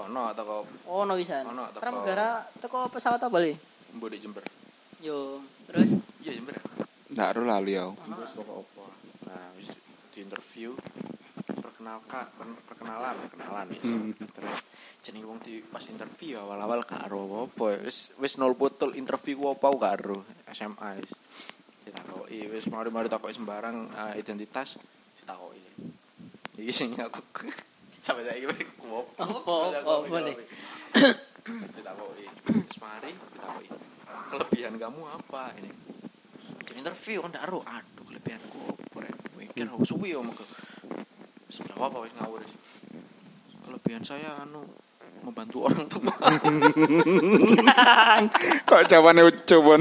Speaker 3: Ono toko
Speaker 1: Ono pisan.
Speaker 3: Ono, teko-
Speaker 1: Pramugara teko pesawat apa le?
Speaker 3: mbok di Jember.
Speaker 1: Yo, terus
Speaker 3: Iya Jember. ya?
Speaker 5: Nggak ada lali aku.
Speaker 3: Terus pokok opo. Nah, wis di interview perkenalkan per- perkenalan perkenalan wis. Terus jenenge wong di pas interview awal-awal gak ero apa wis wis nol botol interview ku opo gak ero SMA wis. Ditakoki wis mari-mari takoki sembarang ah, identitas ditakoki. Iki sing aku sampai saiki wis ku opo.
Speaker 1: Opo,
Speaker 3: Sampai aku
Speaker 1: opo,
Speaker 3: opo,
Speaker 1: boleh.
Speaker 3: opo. ditakoki terus mari ditakoki kelebihan kamu apa ini jadi interview kan daro aduh kelebihanku apa rek mikir aku suwi ya om ke sudah apa wis ngawur wis. kelebihan saya anu membantu orang tua
Speaker 2: Kok jawabannya cobon?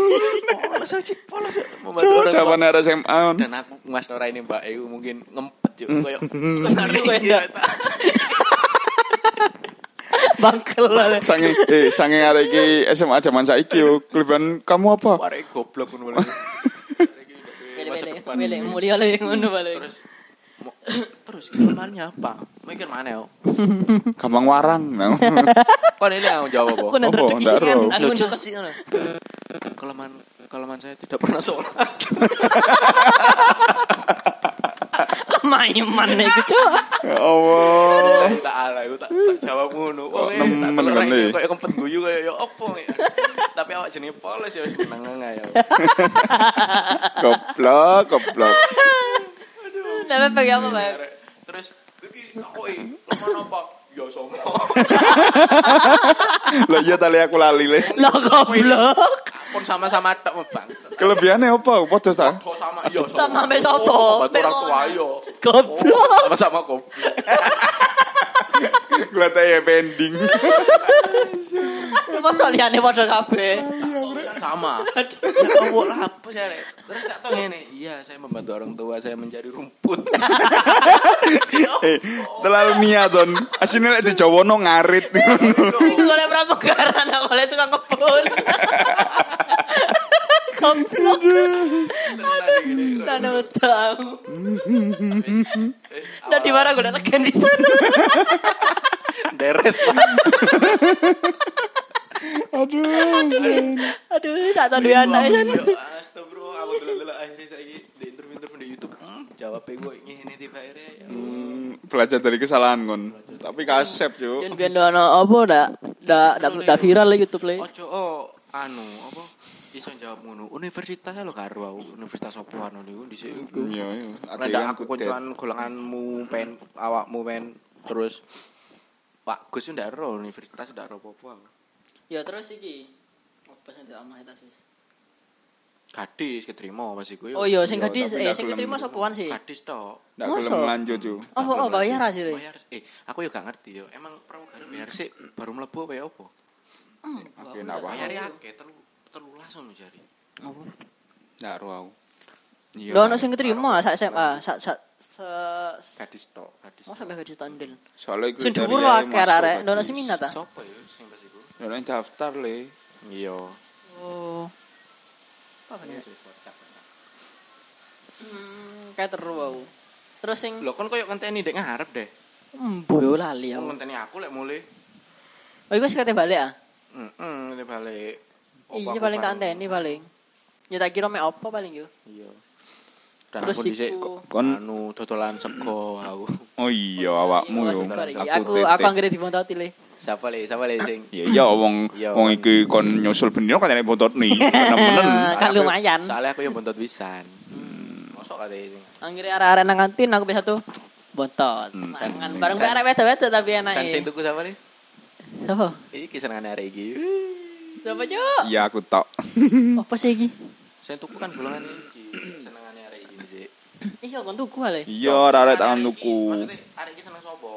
Speaker 3: polos aja polos aja. membantu
Speaker 2: Coba
Speaker 3: orang tua
Speaker 2: jawabannya ada SMA. on.
Speaker 3: dan aku mas Nora ini mbak Ewu mungkin ngempet yuk kayak iya,
Speaker 2: Iya.
Speaker 1: Koyo ndak. bangkel lah.
Speaker 2: Sanging eh sanging arek iki SMA zaman saiki yo. Kelebihan kamu apa?
Speaker 3: warek goblok ngono lho. Masa
Speaker 1: Wele-wele,
Speaker 3: depan
Speaker 1: wele mulia le ngono balik.
Speaker 3: terus mo- terus kelemahannya apa mikir mana yo
Speaker 2: Gampang warang. Nah.
Speaker 3: kok ini yang jawab
Speaker 1: Aku
Speaker 3: kok
Speaker 1: nang
Speaker 2: Apa?
Speaker 1: duduk
Speaker 2: Ndak
Speaker 1: isian,
Speaker 2: ero.
Speaker 1: aku nang-
Speaker 3: iya, kelemahan kelemahan saya tidak pernah sholat
Speaker 1: lemah iman iku, Cuk.
Speaker 2: Ya Allah.
Speaker 3: tak ala aku tak tak jawab ngono
Speaker 2: Kok
Speaker 3: oh tak
Speaker 2: nemen
Speaker 3: telur
Speaker 2: ngene?
Speaker 3: kayak kempet guyu kayak ya opo ya. tapi awak jenenge polos ya wis meneng ae ya
Speaker 2: Goblok, goblok.
Speaker 1: Ndak apa-apa gak apa-apa.
Speaker 3: terus iki takoki kelemahan apa ya sombong
Speaker 2: Lah iya tali aku lali le.
Speaker 1: Lah goblok.
Speaker 3: pun sama-sama tok mebang
Speaker 2: Kelebihannya apa? Podo ta?
Speaker 3: kok sama ya sombong.
Speaker 1: Sama sampe sopo?
Speaker 3: Oh, sama
Speaker 1: Mek
Speaker 3: orang tua
Speaker 1: orang.
Speaker 3: yo
Speaker 1: Goblok.
Speaker 3: sama-sama goblok
Speaker 2: Kelihatan ya pending.
Speaker 1: Masa liyane padha kabeh.
Speaker 3: Urusan sama. Ya Allah, lah, apa sih, Rek? Terus tak tahu ngene, iya saya membantu orang tua saya mencari rumput.
Speaker 2: Eh, terlalu niat don. Asine lek dijowono ngarit.
Speaker 1: Iku oleh pramugara ndak oleh tukang kebun. Goblok. Tanda tahu. Ndak diwarah gue udah legen di sana.
Speaker 3: Deres Pak.
Speaker 1: Aduh, tak tahu duwe anak ya.
Speaker 3: Yo, astagfirullah, aku delok-delok akhirnya saiki di interview-interview di YouTube, hmm, jawab gue ngene tiba akhirnya. ya Allah.
Speaker 1: Hmm.
Speaker 2: Hmm, Belajar dari kesalahan kon. Tapi kasep, Cuk.
Speaker 1: Jen biyen ono apa ndak? Ndak ndak ndak viral lah YouTube le.
Speaker 3: Ojo oh, anu apa iso jawab ngono. Universitasnya lo karo aku, universitas opo anu niku dhisik.
Speaker 2: Iya, iya.
Speaker 3: Rada aku koncoan golonganmu pen awakmu pen terus Pak Gus ndak ero universitas ndak ero apa-apa. aku.
Speaker 1: Ya terus iki. Apa sing dilamah tas wis.
Speaker 3: Gadis keterima pas iku yo.
Speaker 1: Oh iya, sing
Speaker 2: Iya,
Speaker 1: gadis
Speaker 2: tapi
Speaker 1: eh
Speaker 2: ndak
Speaker 1: sing
Speaker 2: gelem.
Speaker 1: keterima sopoan sih?
Speaker 3: Gadis tok.
Speaker 2: Ndak
Speaker 1: Masa?
Speaker 2: gelem lanjut, Cuk.
Speaker 1: Oh, oh, bayar aja deh.
Speaker 3: Bayar. Eh, aku yo gak ngerti yo. Emang pramugara bayar sih baru mlebu apa ya apa?
Speaker 2: Oke, ndak paham.
Speaker 1: ya.
Speaker 3: Bayare akeh telu telulas ngono jari.
Speaker 2: Ndak ro aku. Iya.
Speaker 1: Lho ono sing keterima sak SMA, sak sak se
Speaker 3: Gadis tok, gadis.
Speaker 1: Masa sampe gaji tandil.
Speaker 2: Soale iku
Speaker 1: Sing
Speaker 2: dari
Speaker 1: dhuwur lho
Speaker 2: ae
Speaker 1: akeh
Speaker 2: masuk
Speaker 1: arek,
Speaker 2: tadi.
Speaker 1: ndak ono sing minat ah? ta?
Speaker 3: Sopo yo sing pas iku?
Speaker 2: Ndak ono yang daftar le.
Speaker 3: Iya.
Speaker 1: Oh. Apa bener? Hmm, kayak teru aku. Terus sing
Speaker 3: Lho kon koyo ngenteni dek ngarep deh.
Speaker 1: embo yo lali
Speaker 3: Kon
Speaker 1: aku.
Speaker 3: ngenteni aku lek mulai.
Speaker 1: Oh iku wis kate balik ah.
Speaker 3: Heeh, ngene balik.
Speaker 1: Iya paling tak anteni paling. Ya tak kira mek apa paling yo.
Speaker 3: Iya. Dan
Speaker 1: Terus
Speaker 3: aku dhisik
Speaker 1: iku-
Speaker 3: kok-
Speaker 2: Kon-
Speaker 3: anu dodolan sego aku.
Speaker 2: Oh iya, awakmu
Speaker 1: Iya,
Speaker 2: yo.
Speaker 1: sing kari.
Speaker 2: Aku
Speaker 1: Aku
Speaker 2: titik.
Speaker 1: aku anggere dibontoti le.
Speaker 3: Siapa le? Siapa le sing?
Speaker 2: Ya iya wong
Speaker 3: Iya,
Speaker 2: wong
Speaker 3: wong.
Speaker 2: iki kon nyusul bener kok nyari bontot nih. Temen-temen.
Speaker 1: Kan lumayan.
Speaker 3: Soalnya aku yang bontot pisan. Hmm, Mosok kate sing.
Speaker 1: Anggere arek-arek nang kantin aku biasa tuh bontot.
Speaker 3: Hmm,
Speaker 1: Mangan bareng bareng arek wedo-wedo tapi enak.
Speaker 3: Dan kan. sing tuku siapa le?
Speaker 1: Sopo?
Speaker 3: Iki senengane arek iki.
Speaker 1: Sopo, Cuk?
Speaker 2: Iya aku tok.
Speaker 1: Apa Hmm, sih iki?
Speaker 3: Sing tuku kan golongan iki. Senengane arek iki sih.
Speaker 1: Iya, kon tuku ale.
Speaker 2: Iya, arek tangan
Speaker 3: Senengane arek iki.
Speaker 2: tuku.
Speaker 3: Maksudnya arek iki seneng sapa?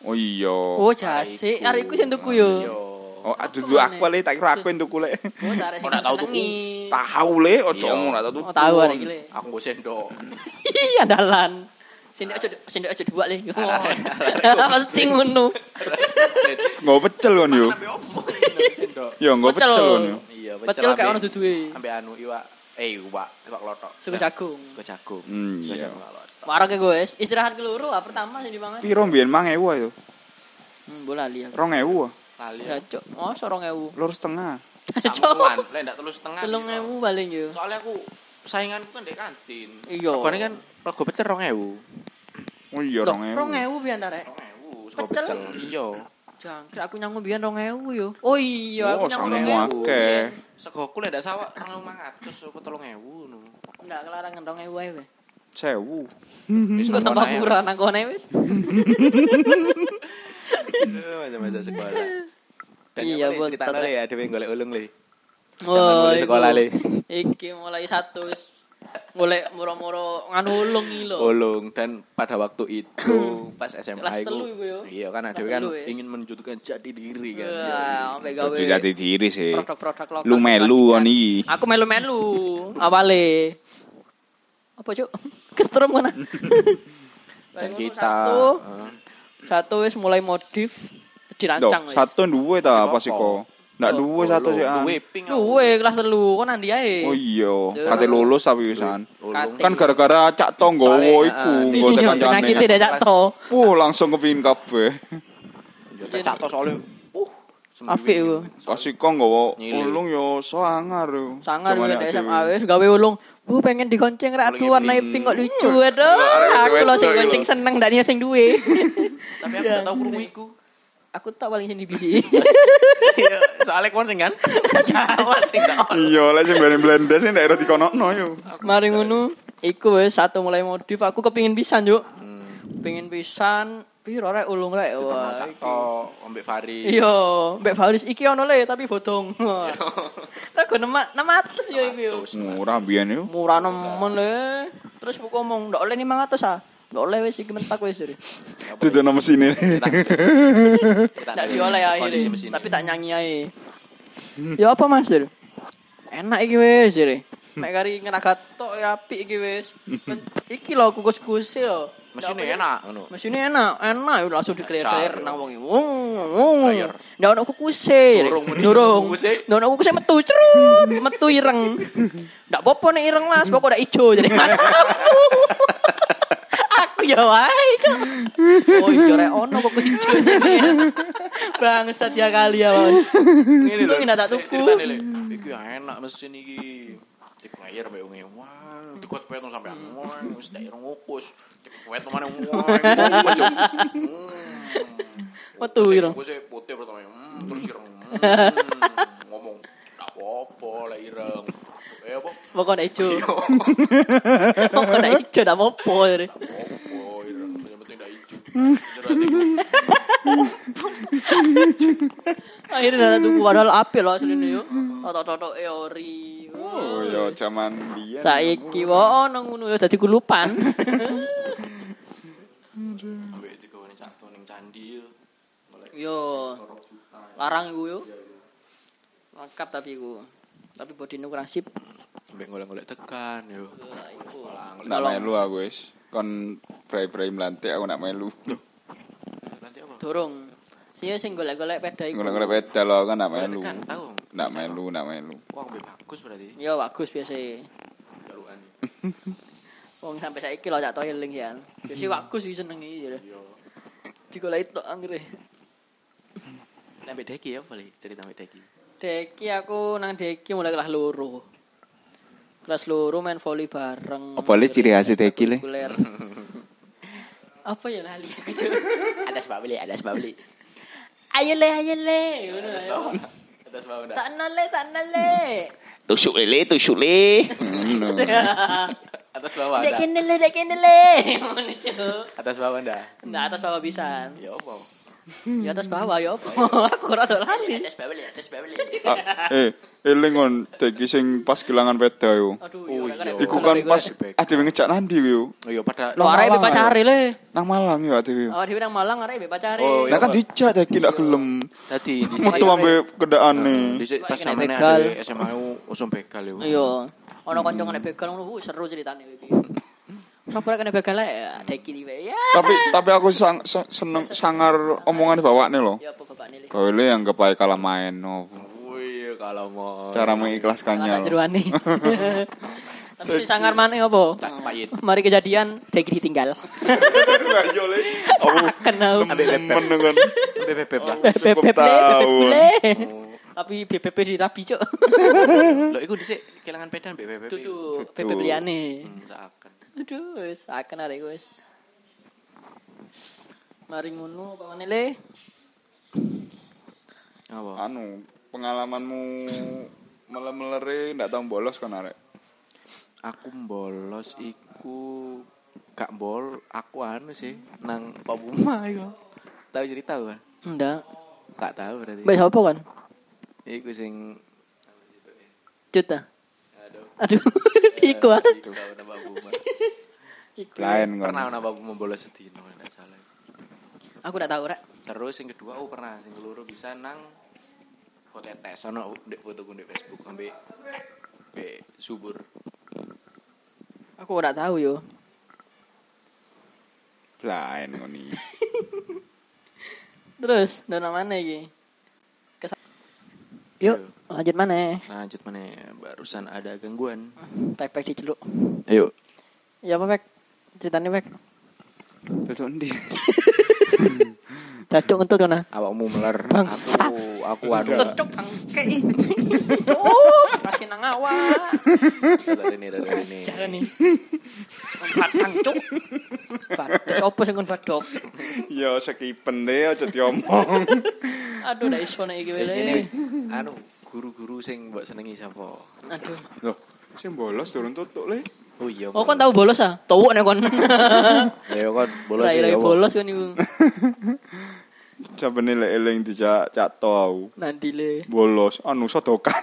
Speaker 2: Oh iya.
Speaker 1: Oh, jase. Arek iku sing tuku yo.
Speaker 3: Yo.
Speaker 2: Oh, aduh duh, aku le tak kira aku yang tuku le.
Speaker 1: Oh, tak arek sing
Speaker 3: Oh, ndak tau
Speaker 1: disenengi.
Speaker 2: Tahu le, ojo
Speaker 3: Iya.
Speaker 2: ngomong ndak tau
Speaker 1: Oh,
Speaker 2: tuku.
Speaker 1: tahu arek iki le.
Speaker 3: Aku nggo sendok.
Speaker 1: Iya, dalan. Sini aja sini aja dua le. Yo. Pasti ngono.
Speaker 2: Nggak pecel kon yo.
Speaker 3: Ambe opo iki sendok?
Speaker 2: Yo nggak
Speaker 1: Pecel.
Speaker 2: pecel kon yo.
Speaker 3: Iya,
Speaker 1: Pecel kayak
Speaker 3: ambe-
Speaker 1: ono duduwe.
Speaker 3: Ambe anu iwak. Eh, iwak, iwak klotok.
Speaker 1: Sego jagung.
Speaker 3: Sego jagung.
Speaker 2: Hmm,
Speaker 3: Sego
Speaker 2: iya.
Speaker 3: jagung iwak klotok.
Speaker 1: Marah ke guys. Istirahat keluru ah pertama sih dimangan.
Speaker 2: Piro mbiyen mang ewu ayo.
Speaker 1: Hmm, bola lihat.
Speaker 2: Rong ewu. ah.
Speaker 3: lali
Speaker 1: Ya, cok. Oh, sorong ewu.
Speaker 2: Lur setengah.
Speaker 3: campuran lek ndak telus setengah
Speaker 1: Telung
Speaker 3: gitu.
Speaker 1: ewu paling yo.
Speaker 3: soalnya aku sainganku kan di kantin
Speaker 1: Iya.
Speaker 3: Regane kan rego pecel 2000
Speaker 2: Oh iya
Speaker 1: Loh,
Speaker 2: rong ewu.
Speaker 1: Rong ewu biar ntar, rek.
Speaker 3: 2000 sego
Speaker 1: Pecel?
Speaker 3: pecel iya
Speaker 1: Jangkrik aku nyangu biar rong ewu yo. Oh iya, aku
Speaker 2: Oh,
Speaker 1: nyangu
Speaker 2: sange
Speaker 1: rong
Speaker 2: wah.
Speaker 1: ewu.
Speaker 2: Oke.
Speaker 3: sego aku
Speaker 2: ya,
Speaker 3: lek ndak sawak 2500 aku 3000 ngono
Speaker 1: Enggak kelarangan rong ewu ae.
Speaker 2: Sewu.
Speaker 3: Wis
Speaker 1: Gue tambah
Speaker 3: ngomong ae.
Speaker 1: murah nang kone wis.
Speaker 3: Eh, macam-macam sekolah Dan
Speaker 1: Iya,
Speaker 3: apa, Le?
Speaker 1: bon,
Speaker 3: ceritanya,
Speaker 1: tetep.
Speaker 3: Le, ya dhewe golek ulung le Zaman
Speaker 1: Wah,
Speaker 3: mulai sekolah, Le.
Speaker 1: Iki mulai satu wis. Mulai moro-moro nganulung iki lho.
Speaker 3: ulung dan pada waktu itu pas SMA
Speaker 1: Kelas
Speaker 3: iku-
Speaker 1: telu iku yo.
Speaker 3: iya kan ada
Speaker 1: Kelas
Speaker 3: kan
Speaker 1: telu, wis. ya
Speaker 3: ingin menunjukkan jati diri kan Iya.
Speaker 1: Wah, sampe gawe
Speaker 6: Cucu jati diri sih.
Speaker 1: produk-produk lokal.
Speaker 6: Lu melu
Speaker 1: kan.
Speaker 6: kon iki.
Speaker 1: Aku melu-melu awale. Apa, Cuk? Kestrem kan. Baru
Speaker 3: dan kita
Speaker 1: satu,
Speaker 3: eh,
Speaker 1: satu wis mulai modif
Speaker 2: Duh,
Speaker 1: dirancang wis.
Speaker 2: satu duwe ta
Speaker 3: Apa?
Speaker 2: pas iku. Ndak duwe satu sih. ah.
Speaker 3: ulung.
Speaker 2: An.
Speaker 3: duwe ping aku.
Speaker 1: Duwe kelas telu kon andi ae.
Speaker 2: Oh iya,
Speaker 1: Duh.
Speaker 2: kate lulus tapi wisan.
Speaker 3: ulung
Speaker 1: Kate.
Speaker 2: Kan gara-gara cak tonggowo
Speaker 3: Soalnya,
Speaker 2: iku
Speaker 3: ah,
Speaker 2: nggo
Speaker 1: Iya, penyakitnya
Speaker 2: kancane.
Speaker 1: dah cak to.
Speaker 2: Wah, langsung kepingin kabeh.
Speaker 3: Yo, Ya, tak tos oleh uh sembiwi.
Speaker 1: Apik iku.
Speaker 2: Pas iku nggawa
Speaker 3: Nyilih.
Speaker 2: ulung yo so angar yo.
Speaker 1: Sangar gue
Speaker 2: Zamane
Speaker 1: dari
Speaker 2: adewe.
Speaker 1: SMA wis gawe ulung. Bu pengen digonceng rak aduh warna
Speaker 3: Ulung-uling.
Speaker 1: pink kok lucu aduh.
Speaker 2: arek
Speaker 1: Aku
Speaker 2: wedok
Speaker 1: lo sing
Speaker 2: iku lho.
Speaker 1: gonceng seneng ndak nyeseng duwe.
Speaker 3: tapi aku nggak tahu
Speaker 1: Iya.
Speaker 3: krungu iku
Speaker 1: Aku tak paling sing bisi.
Speaker 3: Iya, soalnya kon sing kan Awas, sing tak ono.
Speaker 2: Iya, lek sing blendes sing daerah dikono yo.
Speaker 1: Mari ngono. Iku wis satu mulai modif aku kepingin pisan, Juk.
Speaker 3: Hmm.
Speaker 1: Pengen pisan piro rek ulung rek.
Speaker 3: Ono
Speaker 1: Wah.
Speaker 3: Cak
Speaker 1: iki.
Speaker 3: kan To, Ombek Fari
Speaker 1: Iya, Mbak Faris iki ono le tapi bodong.
Speaker 3: Iya.
Speaker 1: Lah go nemak 600 ya iku. yo.
Speaker 2: Murah biyen yo.
Speaker 1: Murah nemen le. Terus buku ngomong ndak oleh 500 ah. Ndak oleh wis iki mentak wis. Jare.
Speaker 2: Dudono mesine.
Speaker 3: Kita-
Speaker 1: Tak dioleh ae.
Speaker 3: kondisi
Speaker 1: Jare.
Speaker 3: mesin
Speaker 1: Tapi tak nyanyi ae. Ya apa Mas? Jare? Enak iki wis jare. Mek kari ngenagat tok ya apik iki wis. Men- Iki lho kukus-kukus e lho.
Speaker 3: mesinnya
Speaker 1: Ndak apa-
Speaker 3: enak ngono
Speaker 1: Mesinnya enak, enak ya, langsung
Speaker 3: Cair.
Speaker 1: diklir-klir nang wong iki. Wung, wung.
Speaker 3: Cair.
Speaker 1: Ndak ono kukuse.
Speaker 3: Durung meni.
Speaker 1: Durung.
Speaker 3: Kukuse.
Speaker 1: Ndak ono kukuse metu crut, metu ireng. Ndak apa-apa nek ireng Mas, pokok ndak ijo jadi mata aku. aku ya wae, Cuk. Oh iya rek ono kok ijo. Bangsat ya kali ya, Mas.
Speaker 3: Ngene lho.
Speaker 1: Untung ndak tak tuku.
Speaker 3: Ceritane, Le. Iki enak mesin iki. Di player mbek wong wah, dikuat kuat sampe
Speaker 1: Hmm.
Speaker 3: wah, wis ndak irung ngukus. Dikuat mana wah, ngukus. yo. Hmm.
Speaker 1: Metu
Speaker 3: Sing
Speaker 1: irung.
Speaker 3: Ngukus e putih pertama. Hmm, terus irung. Hmm, Ngomong, "Ndak apa-apa lah ireng." Eh, apa?
Speaker 1: Pokok ndak ijo. Pokok ndak ijo ndak apa-apa. jare.
Speaker 3: Apa ireng? Yang penting ndak ijo.
Speaker 1: Hmm. Akhirnya ndak tuku padahal apik lho asline yo. Totok-totok e ori.
Speaker 2: Oh yo zaman biyen.
Speaker 1: Saiki wae ono ngono ya dadi kulupan.
Speaker 3: Ambek dikono cak to ning candi. yo. Golek
Speaker 1: Yo,
Speaker 3: loro juta.
Speaker 1: larang iku yo. Lengkap tapi iku. Tapi bodine kurang sip.
Speaker 3: Ambek golek-golek tekan yo.
Speaker 2: Ndak melu aku wis. Kon pray-pray melantik aku nak melu.
Speaker 3: Nanti apa?
Speaker 1: Dorong. Sing sing golek-golek peda iku.
Speaker 2: Ngono-ngono pedal aku kan nak melu.
Speaker 3: Tekan tahu.
Speaker 2: Nak melu, nak melu.
Speaker 3: Wah, ambil bagus berarti.
Speaker 1: Yo bagus biasa.
Speaker 3: Jalukan.
Speaker 1: Wong sampai saiki lho cak toiling ya. Biasa bagus iki senengi ya. Digoleki tok anggere.
Speaker 3: Nek ambek Deki ya boleh cerita ambek Deki.
Speaker 1: Deki aku nang Deki mulai kelas loro. Kelas loro main volley bareng.
Speaker 6: Apa le ciri khas Deki, le?
Speaker 1: Kulikuler. Apa ya lali aku Cuk?
Speaker 3: Ada sebab beli, ada sebab beli.
Speaker 1: Ayo le, ayo le. Ngono, ayo.
Speaker 3: Ada sebab
Speaker 1: Tak nol le, tak nol le.
Speaker 6: Tusuk lele, tusuk le.
Speaker 2: Ngono.
Speaker 3: Ada sebab
Speaker 1: Dek
Speaker 3: ada.
Speaker 1: kene le, dek kene le. Ngono Cuk.
Speaker 3: Ada sebab ada.
Speaker 1: Nah, atas bawah bisa.
Speaker 3: Ya apa?
Speaker 1: Ya atas bawah ya apa? Aku rada lali.
Speaker 3: sebab beli, ada sebab beli.
Speaker 2: Ah, Eh, eling kon deki sing pas kelangan peda yo.
Speaker 1: Aduh,
Speaker 3: Oh,
Speaker 1: ya
Speaker 3: iya.
Speaker 2: Iku kan pas adewe ngejak nandi yo.
Speaker 3: Oh iya pada
Speaker 1: Lo arek be pacare le.
Speaker 2: Nang Malang ya, yo adewe. yo.
Speaker 1: Awak dhewe nang Malang arek be pacare.
Speaker 3: Oh,
Speaker 2: Nah kan dijak deki
Speaker 3: Iya.
Speaker 2: ndak gelem.
Speaker 3: tadi di
Speaker 2: Metu ambe kendakane.
Speaker 3: di sini pas
Speaker 1: Kena
Speaker 3: zaman
Speaker 1: begal.
Speaker 3: ada SMA u usum begal ya. yo.
Speaker 1: Iya. Ono kanca kena begal ngono wuh, seru ceritane iki. Sapa rek kena begal ae deki iki wae. Ya.
Speaker 2: Tapi tapi aku sang- se- seneng sangar omongane bawakne lho.
Speaker 1: Ya
Speaker 3: Iya.
Speaker 1: apa bapakne le.
Speaker 2: Bawele yang kepae kalah main
Speaker 3: Oh,
Speaker 2: no.
Speaker 3: Wih, iya, kalau mau
Speaker 2: Cara
Speaker 1: Masak
Speaker 2: mengikhlaskannya. lho.
Speaker 1: jeruane. Tapi si sangar maneh apa?
Speaker 3: tak Pak Yit.
Speaker 1: Mari kejadian Deki ditinggal.
Speaker 2: Ayo iya, le.
Speaker 1: Kenal.
Speaker 3: Ambil laptop.
Speaker 2: Menengen.
Speaker 3: Beb, beb, beb lah.
Speaker 2: Cukup
Speaker 1: Bebek
Speaker 2: tahu.
Speaker 1: Tapi BPP dirapi cuk.
Speaker 3: Lho iku dhisik kelangan pedan beb, beb, beb.
Speaker 1: Duduk BPP liane.
Speaker 3: Hmm, seakan.
Speaker 1: Aduh, wis akan arek wis. Mari ngono apa meneh le?
Speaker 3: Apa?
Speaker 2: Anu, pengalamanmu meler-melere ndak tau bolos kan arek.
Speaker 3: Aku bolos iku gak bol, aku anu sih nang Pak Buma iku. Tahu cerita gua?
Speaker 1: Ndak.
Speaker 3: Gak tahu berarti.
Speaker 1: Mbak sapa kan?
Speaker 3: Iku sing
Speaker 1: Juta. Aduh. Iku ah.
Speaker 3: Iku tahu nang Pak Buma.
Speaker 2: Lain kan.
Speaker 3: Pernah nang Pak Buma bolos sedino enggak salah.
Speaker 1: Aku ndak tahu rek.
Speaker 3: Terus yang kedua oh pernah sing keluru bisa nang Potetes ono ndek fotoku ndek Facebook ambek ambek subur.
Speaker 1: Aku ndak tahu yo.
Speaker 2: Lain ngoni.
Speaker 1: Terus, ndak mana iki? Kes- Yuk, lanjut mana?
Speaker 3: Lanjut mana barusan ada gangguan.
Speaker 1: Pek-pek diceluk.
Speaker 3: Ayo.
Speaker 1: Ya apa pek? Ceritanya pek.
Speaker 2: Duduk ndi?
Speaker 1: Daduk ngentut kana.
Speaker 3: Awakmu meler.
Speaker 1: Bangsat.
Speaker 3: Aku aku anu.
Speaker 1: Cuk bangke. Cuk, masih nang awak.
Speaker 3: Dari ini dari ini.
Speaker 1: Jaran nih. Kon batang cuk. Bados opo sing kon badok?
Speaker 2: Ya sekipen deh aja diomong.
Speaker 1: Aduh, ndak iso nek iki
Speaker 3: Terus
Speaker 1: wele.
Speaker 3: gini, anu guru-guru sing mbok senengi sapa?
Speaker 1: Aduh.
Speaker 2: Loh, sing bolos durung tutuk le.
Speaker 3: Oh iya.
Speaker 1: Oh, kon tahu bolos ah? Tawuk nek kon.
Speaker 3: Ya kon bolos
Speaker 1: Lah,
Speaker 3: ya.
Speaker 1: iya
Speaker 3: apa?
Speaker 1: bolos kon iku.
Speaker 2: Sampe nilai eling dijak cato aku.
Speaker 1: Nandile.
Speaker 2: Bolos anu sodokan.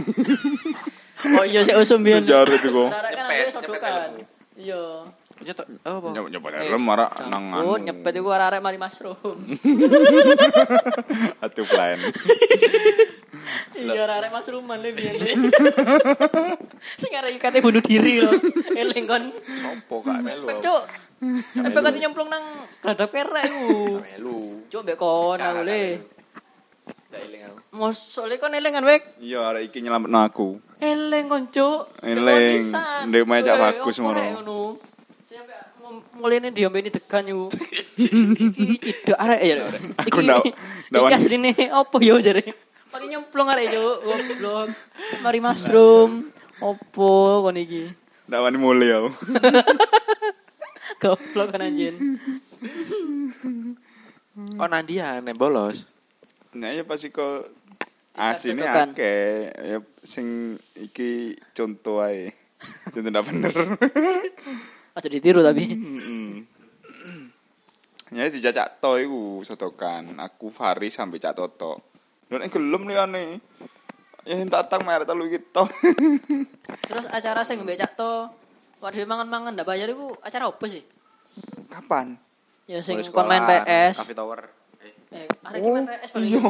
Speaker 1: Oh iya sik usum biyen.
Speaker 2: Penjara itu kok.
Speaker 1: Rara kan
Speaker 3: Nyepet,
Speaker 1: ada sodokan. Iya.
Speaker 3: Nyetok oh, apa?
Speaker 2: Nyep
Speaker 1: Eh,
Speaker 2: nyep helm marak nang anu.
Speaker 1: Oh, nyepet iku arek mari mushroom.
Speaker 2: Atuh lain.
Speaker 1: Iya, arek mushroom-an le biyen. le. Sing arek iki kate bunuh diri lho. Eling kon.
Speaker 3: Sopo gak melu. aku.
Speaker 1: Cuk. Sampai kate nyemplung nang gradap kerek iku.
Speaker 3: Gak Melu.
Speaker 1: Cuk, mbek kon
Speaker 3: Gak,
Speaker 1: aku
Speaker 3: gak
Speaker 1: le.
Speaker 3: melu. Gak eling aku.
Speaker 1: Mosole kon eling kan wek.
Speaker 2: Iya arek iki nyelametno aku.
Speaker 1: Eleng konco.
Speaker 2: Eleng. Ndek mae cak bagus mono.
Speaker 1: Mulane diombeni degan yo. Iki cidak arek ya. arek.
Speaker 2: Aku
Speaker 1: Iki-
Speaker 2: ndak- ndak
Speaker 1: Iki
Speaker 2: wani.
Speaker 1: asline opo yo jare. Pake nyemplung arek yo, goblok. Mari mushroom. Opo kon iki?
Speaker 2: Ndak wani mulih aku.
Speaker 1: Goblok kan anjen.
Speaker 3: Oh Nadia nek bolos.
Speaker 2: Nah, ya pasti kok asine
Speaker 1: cocokan.
Speaker 2: akeh ya sing iki contoh ae. Contoh ndak bener.
Speaker 1: Aja ditiru tapi.
Speaker 2: Ya dijajak to iku sodokan. Aku Faris sampe Cak Toto. Lho nek gelem liyane. Ya sing tatang merek telu iki to.
Speaker 1: Terus acara sing mbek Cak To, waduh mangan-mangan ndak bayar iku acara opo sih?
Speaker 2: Kapan?
Speaker 1: Ya sing
Speaker 3: Bolos
Speaker 1: kon main
Speaker 3: sekolah,
Speaker 1: PS.
Speaker 3: Cafe Tower. Eh,
Speaker 1: Eh, arek iki main PS paling.
Speaker 2: Oh, iya,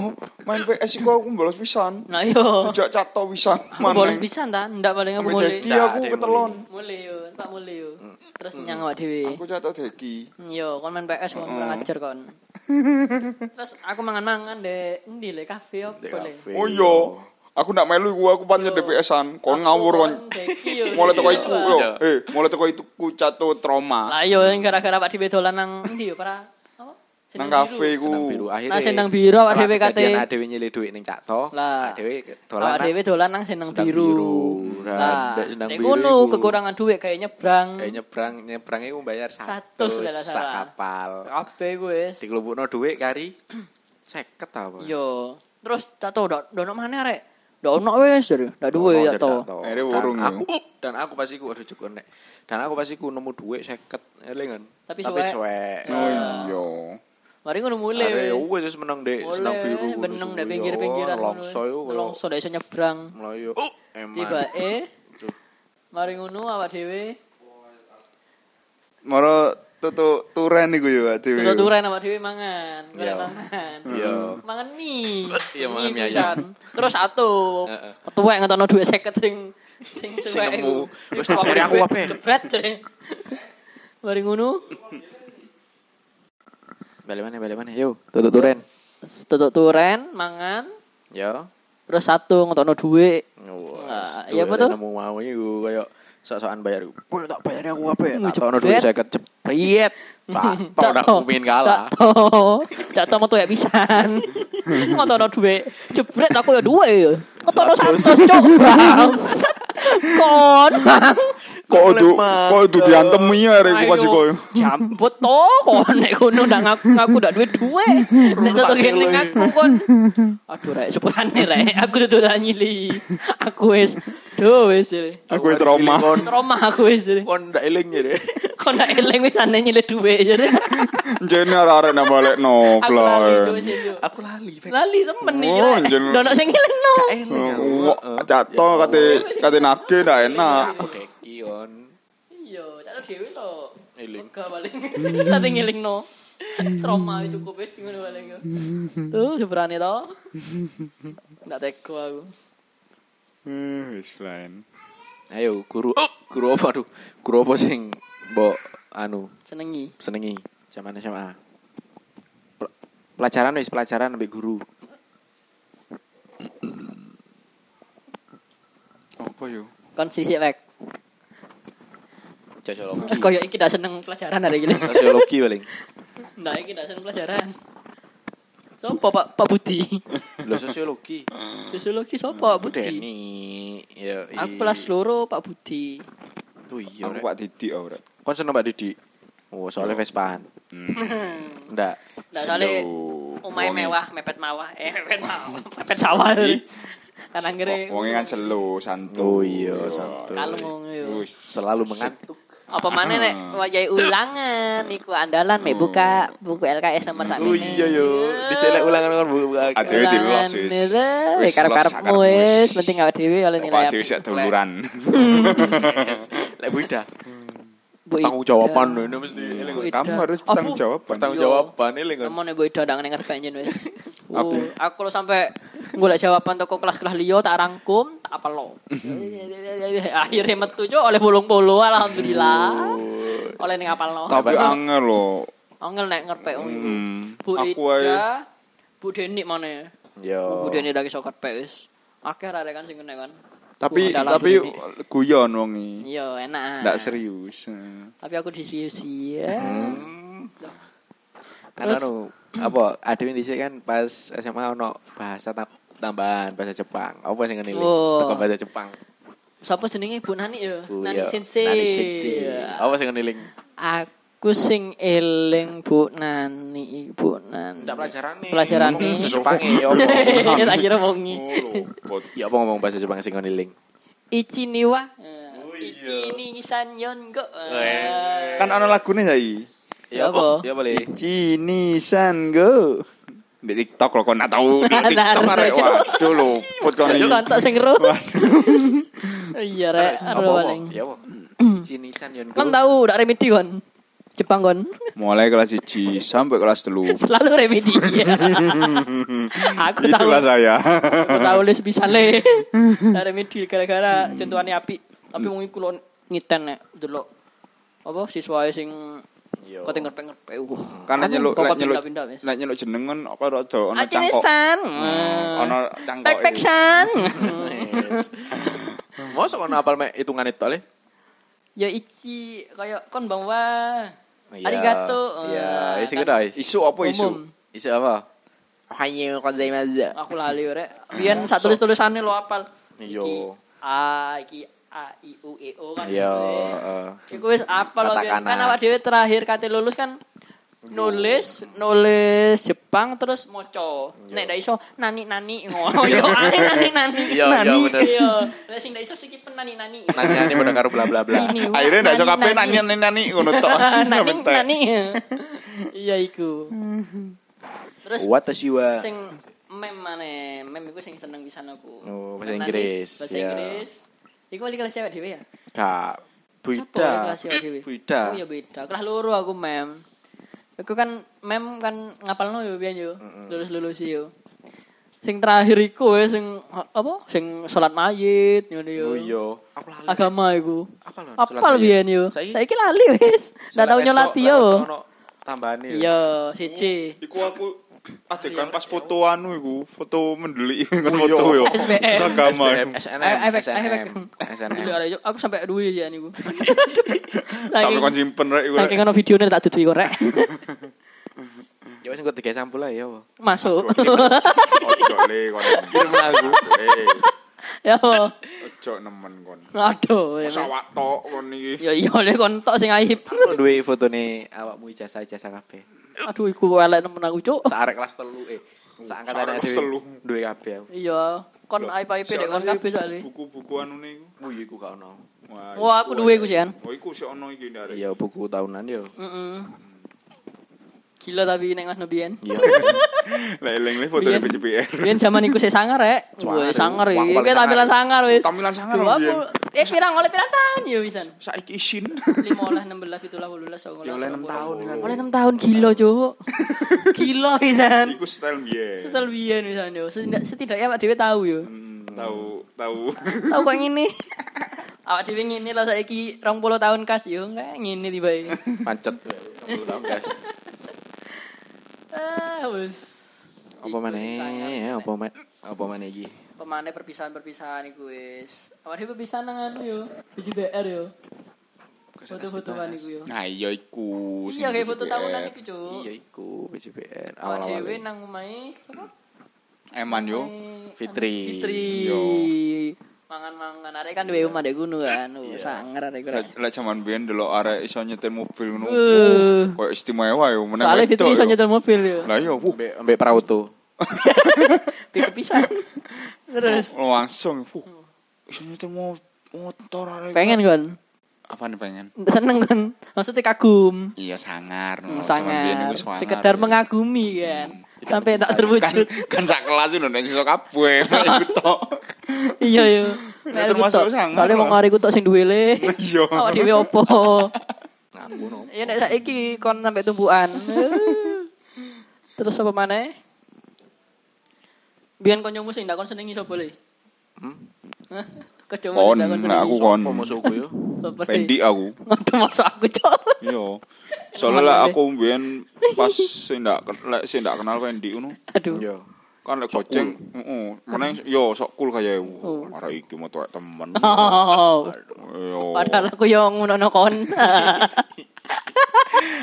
Speaker 2: main PS iku aku bolos pisan.
Speaker 1: Nah yo.
Speaker 2: Dijak Cak To pisan.
Speaker 1: Aku bolos pisan ta, ndak paling aku
Speaker 2: Sampe
Speaker 1: mulai.
Speaker 2: Deki
Speaker 3: Ndak,
Speaker 2: aku
Speaker 3: dia
Speaker 2: ketelon.
Speaker 1: Mulai yo, tak mulai yo. Terus nyang awak dhewe.
Speaker 2: Hmm. Aku Hmm. Cak To Deki.
Speaker 1: Yo, kon main PS kon kurang ajar kon. Terus aku mangan-mangan deh, endi le kafe opo
Speaker 3: Ndek
Speaker 1: le.
Speaker 3: kafe.
Speaker 2: Oh iya. Aku ndak melu iku aku pancen
Speaker 1: Yo. Iya.
Speaker 2: DPS-an.
Speaker 1: Aku
Speaker 2: Kon ngawur kon.
Speaker 1: Deki yo.
Speaker 2: Mulai teko
Speaker 1: Iya,
Speaker 2: iku
Speaker 1: Pak.
Speaker 2: yo. Eh, mulai teko itu ku Cak To trauma.
Speaker 1: Lah yo yang gara-gara Pak Dhewe dolan nang endi yo para apa?
Speaker 2: Nang
Speaker 1: Jeneng
Speaker 2: kafe
Speaker 1: biru.
Speaker 2: iku.
Speaker 3: Senang biru akhirnya.
Speaker 1: Nah, senang biru awak dhewe kate.
Speaker 3: Adewe nyilih duit ning Cak To.
Speaker 1: Lah.
Speaker 3: Adewe Ah, dolan.
Speaker 1: Awak dhewe dolan nang seneng
Speaker 3: Senang
Speaker 1: biru.
Speaker 3: biru.
Speaker 1: Lah,
Speaker 3: Nah, senang
Speaker 1: nek
Speaker 3: biru
Speaker 1: ngono
Speaker 3: iku.
Speaker 1: kekurangan duit kayak nyebrang.
Speaker 3: Kayak Eh, nyebrang nyebrang iku bayar 100
Speaker 1: Satu, saudara,
Speaker 3: sak
Speaker 1: saudara.
Speaker 3: kapal.
Speaker 1: Kabeh wis.
Speaker 3: Dikelompokno duit kari
Speaker 1: Iya,
Speaker 3: 50 apa?
Speaker 1: Yo, terus tak tahu dak dono mana rek? Dak ono wis dari, dak duwe
Speaker 3: Ono
Speaker 1: ya
Speaker 3: jet
Speaker 1: tahu.
Speaker 3: tak tau.
Speaker 2: Akhirnya
Speaker 3: Dan
Speaker 2: warung
Speaker 3: aku dan aku pasti ku aduh cukup nek. Dan aku pasti ku nemu duit 50 elingan.
Speaker 1: Tapi suwek.
Speaker 3: suwek.
Speaker 2: Oh iya.
Speaker 1: Mari ngono
Speaker 3: Are
Speaker 1: mulai.
Speaker 3: yo wis wis menang dek senang biru.
Speaker 1: Mulai beneng dak
Speaker 3: ya
Speaker 1: pinggir-pinggiran ngono. Oh,
Speaker 3: Longso yo koyo
Speaker 1: Longso dak iso nyebrang.
Speaker 3: mloyo. Eman.
Speaker 1: Tiba eh mari ngono awak dhewe.
Speaker 2: Moro tutu turen iku yo Pak Dewi.
Speaker 1: Terus turen awak dhewe mangan,
Speaker 3: Iya.
Speaker 1: kalian mangan.
Speaker 3: Iya.
Speaker 1: Mangan mie.
Speaker 3: Iya, mangan mie ayam.
Speaker 1: kucan. Terus satu.
Speaker 3: Heeh.
Speaker 1: Tuwek ngetono duit 50 sing sing
Speaker 3: Sing
Speaker 1: suwek
Speaker 3: nemu.
Speaker 1: iku.
Speaker 3: Wis tak bayar aku kabeh.
Speaker 1: Jebret. jare. Mari ngono.
Speaker 3: Balik mana balik mana yo. Tutup turen.
Speaker 1: Tutuk turen mangan.
Speaker 3: Yo.
Speaker 1: Terus satu ngetokno dhuwit.
Speaker 3: Wes,
Speaker 1: Nah,
Speaker 3: duit
Speaker 1: iya apa tuh?
Speaker 3: Nemu mau iku koyo sok-sokan bayar. Wah, tak bayar aku apa ya?
Speaker 1: Wih,
Speaker 3: Tak tau no
Speaker 1: jepret.
Speaker 3: duit jaket jepriet. Tak tau nak kumin kalah.
Speaker 1: Tak tau. Tak tau metu ya pisan. Ngotono dhuwit. Jebret aku ya duwe ya. Ngotono satu cok. Bangsat. Kon. bang.
Speaker 4: Kok
Speaker 3: Lek,
Speaker 4: itu
Speaker 3: Mas.
Speaker 4: kok itu diantem ya arek
Speaker 1: Ayo,
Speaker 4: kasih koyo.
Speaker 1: Jambut to kon nek kono ndak ngaku ngaku ndak duwe duwe. Nek
Speaker 3: Rumah
Speaker 1: tetu kene
Speaker 3: sele.
Speaker 1: ngaku kon. Aduh rek sepurane rek. Aku tetu nyili. Aku wis. Duh wis. Rek.
Speaker 4: Aku ya trauma.
Speaker 3: Kon
Speaker 1: Trauma aku wis. Rek.
Speaker 3: kon ndak eling ya deh.
Speaker 1: Kon ndak eling wis ane nyilih duwe. ya, Rek.
Speaker 4: Jene arek nang balik no
Speaker 1: Aku lali
Speaker 4: blor.
Speaker 1: Cuk, Cuk, Cuk.
Speaker 3: Aku lali. Pak.
Speaker 1: Lali temen iki.
Speaker 4: Oh,
Speaker 1: Rek.
Speaker 4: jen.
Speaker 1: Dono sing ngelingno.
Speaker 3: Nggak eling
Speaker 1: Ya
Speaker 3: aku.
Speaker 4: Oh, Wah, Cato kate kate nage ndak enak.
Speaker 3: Aku deki kon.
Speaker 1: Iya, cak dhewe to.
Speaker 3: Eling.
Speaker 1: Lega paling. Nanti ngilingno. Trauma itu cukup wis ngono paling. yo. Tuh, seberane to. Ndak tega aku.
Speaker 4: Eh, wis lain.
Speaker 3: Ayo guru. Oh, guru apa aduh? Guru apa sing mbok anu
Speaker 1: Senengi.
Speaker 3: senengi zaman SMA? Pel- Pelajaran wis pelajaran ambek guru.
Speaker 4: Apa yo?
Speaker 1: Kon sisik wek.
Speaker 3: Sosiologi.
Speaker 1: Koyo iki ndak seneng pelajaran hari ini.
Speaker 3: Sosiologi paling.
Speaker 1: Ndak iki ndak seneng pelajaran. Sopo Pak Pak Budi?
Speaker 3: Lho sosiologi.
Speaker 1: Sosiologi sopo Pak Budi?
Speaker 3: Deni. Ya, i-
Speaker 1: Aku kelas loro Pak Budi.
Speaker 3: Tuh
Speaker 1: Ya,
Speaker 3: iya.
Speaker 4: Aku
Speaker 3: Rek.
Speaker 4: Pak Didi oh, Rek.
Speaker 3: Kon seneng Mbak Didi. Oh, soalnya Vespaan.
Speaker 1: Hmm.
Speaker 3: Ndak.
Speaker 1: Ndak sale
Speaker 4: Slow.
Speaker 1: omahe
Speaker 4: Wonge-
Speaker 1: mewah, mepet mawah. Eh, mepet mawah. Mepet sawah. Kan anggere
Speaker 4: Wonge kan selo santu. Ya.
Speaker 3: Oh iya, santuy.
Speaker 1: kalem ngono yo.
Speaker 3: Selalu mengantuk.
Speaker 1: apa mana nek wayai ulangan iku andalan mek buka buku LKS nomor sak
Speaker 3: Oh iya yo. Dicelek ulangan kon buka.
Speaker 4: Adewe di los wis.
Speaker 1: wis karo karepmu wis penting awake dhewe oleh
Speaker 4: Pak
Speaker 1: nilai
Speaker 4: Didi
Speaker 1: apik.
Speaker 4: sak duluran.
Speaker 3: Lek buida.
Speaker 1: Bu
Speaker 3: Tanggung
Speaker 1: Ida.
Speaker 3: jawaban ini mesti eling.
Speaker 1: Bu Ida.
Speaker 4: Kamu harus
Speaker 1: Apa?
Speaker 4: bertanggung jawab, Pan.
Speaker 3: Tanggung
Speaker 1: Iya.
Speaker 3: jawaban eling kon.
Speaker 1: Kamu nek Bu Ida ndang denger penjen wis. Oh, aku lo sampai golek jawaban toko kelas-kelas liya tak rangkum, tak apelo. Akhirnya metu cuk oleh bolong-bolo alhamdulillah. Oleh ning apalno.
Speaker 4: Tapi
Speaker 3: Apa?
Speaker 4: angel loh.
Speaker 1: Angel nek ngerpek wong iku.
Speaker 4: Hmm.
Speaker 1: Bu
Speaker 4: Aku ae Oh.
Speaker 1: Ida, Bu Deni mana?
Speaker 3: Yo.
Speaker 1: Kemudian ada kisah karpet wis. Akeh rare kan sing kena kan.
Speaker 4: tapi
Speaker 1: Gua adalah
Speaker 4: tapi
Speaker 1: Bu Deni.
Speaker 4: guyon wongi.
Speaker 1: iya enak.
Speaker 4: Ndak serius. eh.
Speaker 1: Tapi aku diseriusi ya.
Speaker 3: Karena
Speaker 1: Terus?
Speaker 3: anu apa adewe dhisik kan pas SMA ono bahasa tam- tambahan bahasa Jepang. Apa sing ngene?
Speaker 1: Oh.
Speaker 3: Teko bahasa Jepang.
Speaker 1: Sapa jenenge Bu Nani ya?
Speaker 3: Bu,
Speaker 4: iya.
Speaker 1: Nani
Speaker 3: yo.
Speaker 1: Sensei.
Speaker 3: Nani Sensei.
Speaker 1: Iya.
Speaker 3: Apa sing ngene? Ling?
Speaker 1: Aku sing eling Bu Nani, Bu Nani.
Speaker 3: Ndak pelajaran nih.
Speaker 1: Pelajaran
Speaker 3: Ngomong
Speaker 1: nih.
Speaker 3: Jepang ya apa?
Speaker 1: Tak kira wongi.
Speaker 4: Oh,
Speaker 3: Ya apa ngomong bahasa Jepang sing ngene ling?
Speaker 1: Ichiniwa.
Speaker 3: Oh,
Speaker 1: Ichini sanyon go.
Speaker 3: Eh.
Speaker 1: Eh.
Speaker 3: Weh.
Speaker 4: kan ana lagune saiki.
Speaker 1: Ya apa?
Speaker 3: Ya boleh.
Speaker 4: Cinisan go. Di TikTok lo kon nggak tahu di
Speaker 1: Nah,
Speaker 4: TikTok
Speaker 1: nah,
Speaker 4: arek
Speaker 1: nah,
Speaker 4: waduh lo put kon
Speaker 1: Jadi
Speaker 4: iki.
Speaker 1: kontak sing ro. Iya rek,
Speaker 3: Terus,
Speaker 1: aduh
Speaker 3: apa,
Speaker 1: paling.
Speaker 3: apa? Ya apa? Cinisan yon.
Speaker 1: Kon tahu ndak remedi kon? Jepang kon.
Speaker 4: Mulai kelas 1 sampai kelas 3.
Speaker 1: selalu remedi aku tahu
Speaker 4: Itulah saya.
Speaker 1: aku tahu les bisa le Nah, remedi gara-gara contohannya api tapi mau iku lo ngiten nek dulu apa siswa sing
Speaker 3: Yo.
Speaker 1: kote ngerpe ngerpe uh
Speaker 4: Karena nyeluk
Speaker 1: kok
Speaker 4: lek
Speaker 1: pindah
Speaker 4: nyeluk
Speaker 1: pindah wis
Speaker 4: lek nyeluk jeneng kan apa rada ana cangkok. Hmm,
Speaker 1: Ajenisan
Speaker 3: Hmm.
Speaker 1: Hmm.
Speaker 4: Ana cangkok.
Speaker 1: pek pek
Speaker 4: iki.
Speaker 1: san
Speaker 3: Mosok ono apal mek hitungane tok le?
Speaker 1: ya ichi kaya kon bawa
Speaker 3: Iya.
Speaker 1: arigato
Speaker 3: Iya,
Speaker 1: Eh,
Speaker 3: isi
Speaker 1: kan
Speaker 3: kuda. isi.
Speaker 4: Isu apa isu?
Speaker 1: umum.
Speaker 3: Isi apa? Iya, Ohayo konzaimasu.
Speaker 1: aku lali rek biyen sak tulis tulisannya lo apal
Speaker 3: Iya.
Speaker 1: Iki a iki a i u e o kan
Speaker 3: Iya,
Speaker 1: gitu
Speaker 3: heeh.
Speaker 1: ya. iku wis apal lo biyen.
Speaker 3: Katakana.
Speaker 1: kan awak dhewe terakhir kate lulus kan nulis nulis Jepang terus moco nek ndak iso nani nani ngono yo ae nani nani
Speaker 3: Iya, iya, bener.
Speaker 1: Iya. nek sing ndak iso sik nani nani
Speaker 3: Nanyane padha karo bla bla bla.
Speaker 1: Ini, wah,
Speaker 4: Akhirnya ndak iso kabeh
Speaker 1: nani,
Speaker 4: nanya nani ngono tok.
Speaker 1: nani
Speaker 4: Bentek.
Speaker 1: nani iya iku terus
Speaker 3: Watashi wa
Speaker 1: sing meme mana meme iku sing seneng pisan aku
Speaker 3: Oh,
Speaker 1: Nangis,
Speaker 3: bahasa Inggris,
Speaker 1: bahasa
Speaker 3: ya.
Speaker 1: Inggris iku wali kelas cewek dhewe ya
Speaker 3: Kak
Speaker 1: Sopo wali
Speaker 3: Buida.
Speaker 1: kelas cewek dhewe
Speaker 3: Buida.
Speaker 1: ya oh ya beda kelas loro aku mem aku kan mem kan ngapalno yo biyen yo lulus lulus yo sing terakhir iku ya sing apa sing salat mayit ngono yo
Speaker 3: Oh iya. Aku lali.
Speaker 1: agama iku
Speaker 3: Apa lho?
Speaker 1: apal biyen yo
Speaker 3: Saiki-
Speaker 1: saiki lali wis ndak tau nyolat yo
Speaker 3: Tambahane.
Speaker 1: iya siji
Speaker 4: Iku aku
Speaker 2: Adegan pas foto anu iku, foto mendeli kan
Speaker 4: Oh, iya.
Speaker 2: foto yo.
Speaker 1: SBM.
Speaker 2: Sagama.
Speaker 3: SBM,
Speaker 2: iku.
Speaker 3: SNM,
Speaker 1: Eh, efek efek
Speaker 3: SNM, SNM.
Speaker 1: Dulu ada yuk, aku sampai duwe ya niku
Speaker 2: Sampai kon
Speaker 1: saking
Speaker 2: simpen rek iku. rek.
Speaker 1: saking ono videonya tak dudui korek
Speaker 3: Ya wis engko tiga sampul lah ya apa.
Speaker 1: masuk
Speaker 2: Ojo le kon.
Speaker 3: Film aku.
Speaker 1: ya apa?
Speaker 2: Ojo nemen kon.
Speaker 1: aduh ya.
Speaker 2: Sawak tok kon iki.
Speaker 1: ya iya le kon tok sing aib
Speaker 3: Aku duwe fotone awakmu ijazah-ijazah kabeh.
Speaker 1: aduh iku elek nemen aku cuk
Speaker 3: Saarek kelas 3 eh. Saangkatane
Speaker 2: Saarek kelas
Speaker 3: dhewe.
Speaker 2: telu.
Speaker 3: Duwe kabeh aku.
Speaker 1: iya kon aib aib dek kon kabeh soalnya
Speaker 2: Buku-buku anune iku.
Speaker 3: Wih, iku gak ono.
Speaker 1: Wah, aku duwe iku, Sian.
Speaker 2: Oh, iku sik ono iki ndarek.
Speaker 3: Iya, buku tahunan yo.
Speaker 1: Mm-mm. gila tapi nek mas nebian
Speaker 3: Iya.
Speaker 2: Lah eling le fotone
Speaker 1: Biyen-
Speaker 2: PCPR.
Speaker 1: Biyen zaman iku sih sangar rek.
Speaker 3: Sangar,
Speaker 1: Wah, sangar
Speaker 3: wah,
Speaker 1: iki.
Speaker 3: paling
Speaker 1: Iki Iya, tampilan sangar wis.
Speaker 2: Tampilan sangar
Speaker 1: Duh,
Speaker 2: lho,
Speaker 1: aku-
Speaker 2: biyen.
Speaker 1: Eh pirang oleh pirang tahun ya wisan.
Speaker 2: Saiki isin.
Speaker 1: 15 16 17 18 19.
Speaker 3: Ya, oleh enam tahun, kan.
Speaker 1: Oleh 6 tahun gila, Cuk. gila wisan.
Speaker 2: Iku style biyen.
Speaker 1: Setel biyen wisan yo. Setidak- Setidaknya Pak Dewi tahu yo.
Speaker 2: Hmm, Tahu tahu.
Speaker 1: Tahu kok ngene. Awak dhewe ngene lah saiki 20 tahun kas yo, kayak ngene tiba ini.
Speaker 3: Pancet. Tahu, guys.
Speaker 1: Ah, wis.
Speaker 3: Apa
Speaker 1: Iku sing sangar.
Speaker 3: maneh? Iya, Eh, Apa maneh? Apa maneh iki?
Speaker 1: pemane perpisahan-perpisahan iku wis. Awake perpisahan nang anu yo, BJBR yo. Foto-fotoan iku yo.
Speaker 2: Nah, iya iku.
Speaker 1: Iya kayak foto tahunan iku, Cuk.
Speaker 3: Iya, iku
Speaker 1: Awak
Speaker 3: PCBR awal-awal. ya.
Speaker 1: dhewe nang omahe sapa?
Speaker 2: Eman yo.
Speaker 1: Omahe
Speaker 3: Fitri.
Speaker 1: anu, Fitri.
Speaker 2: Yo.
Speaker 1: Mangan-mangan arek kan duwe omah ndek ngono kan.
Speaker 3: Iya.
Speaker 1: Wah, Sangar arek iku.
Speaker 2: Lah lah jaman biyen delok arek iso nyetir mobil ngono.
Speaker 1: Uh.
Speaker 2: Kayak istimewa yo meneh.
Speaker 1: Soalnya
Speaker 2: wedok
Speaker 1: Fitri iso
Speaker 2: yo.
Speaker 1: nyetir mobil yo.
Speaker 2: Lah
Speaker 3: iya,
Speaker 2: yo, wuh,
Speaker 3: Mbek mbek Prauto.
Speaker 1: Piye pisan. Terus
Speaker 2: Oh, langsung. Wuh. Iso nyetir mo- motor arek.
Speaker 1: pengen kon.
Speaker 2: Apa nih pengen?
Speaker 1: Seneng kon. Maksudnya kagum.
Speaker 2: Iya sangar. no. Jaman biyen
Speaker 1: Sangat
Speaker 2: iku iya. Hmm, sangar.
Speaker 1: Hmm, sekedar
Speaker 2: yo.
Speaker 1: mengagumi kan. Sampai tak terwujud.
Speaker 2: kan sak kelas itu nang iso kabeh
Speaker 1: Oh,
Speaker 2: iku tok.
Speaker 1: iya iya
Speaker 2: Ya, termasuk sangar
Speaker 1: soalnya
Speaker 2: lah.
Speaker 1: mau ngari ku tok sing duwe le
Speaker 2: Iya.
Speaker 1: awak dhewe opo
Speaker 3: Nah, ngono.
Speaker 1: ya nek saiki kon sampai tumbukan terus apa maneh biyen koncomu sing ndak kon senengi sapa le
Speaker 3: Hmm?
Speaker 1: Kejomu
Speaker 2: Kon, lah aku kon.
Speaker 3: Apa musuhku yo?
Speaker 2: Pendi aku.
Speaker 1: Waduh masuk aku cok
Speaker 2: Iya. Soalnya lah aku mbiyen pas sing ndak lek sing ndak kenal Pendi ngono.
Speaker 1: Aduh
Speaker 3: Yo.
Speaker 2: Kan lek gojeng, heeh. Meneng yo sok cool kaya
Speaker 1: Oh.
Speaker 2: arek iki mau tuwek temen.
Speaker 1: Oh,
Speaker 2: Yo.
Speaker 1: padahal aku yo ngono kon.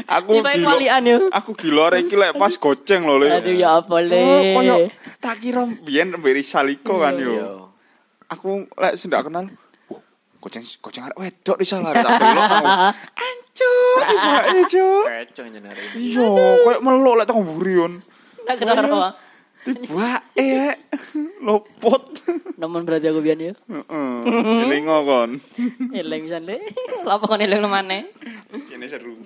Speaker 2: aku
Speaker 1: Tiba
Speaker 2: gila.
Speaker 1: kualian yo.
Speaker 2: Aku gila arek iki lek pas gojeng lho le.
Speaker 1: Aduh ya apa
Speaker 2: Oh,
Speaker 1: le.
Speaker 2: koyo tak kira mbiyen mbek Risaliko kan
Speaker 3: Iya.
Speaker 2: yo.
Speaker 3: Yo.
Speaker 2: Aku lek sing ndak kenal "Wah, Gojeng, gojeng arek wedok di sana, tak belok aku. Ancur, ibu ancur.
Speaker 3: Kecok jenenge.
Speaker 2: Iya, kayak melok lek tanggung burion.
Speaker 1: Tak kenal apa?
Speaker 2: Tiba eh lopot.
Speaker 1: Namun berarti aku biyen yo.
Speaker 2: Heeh. Elingo kon.
Speaker 1: Eleng pisan le. Lah apa kon eleng nang maneh?
Speaker 2: Ini seru.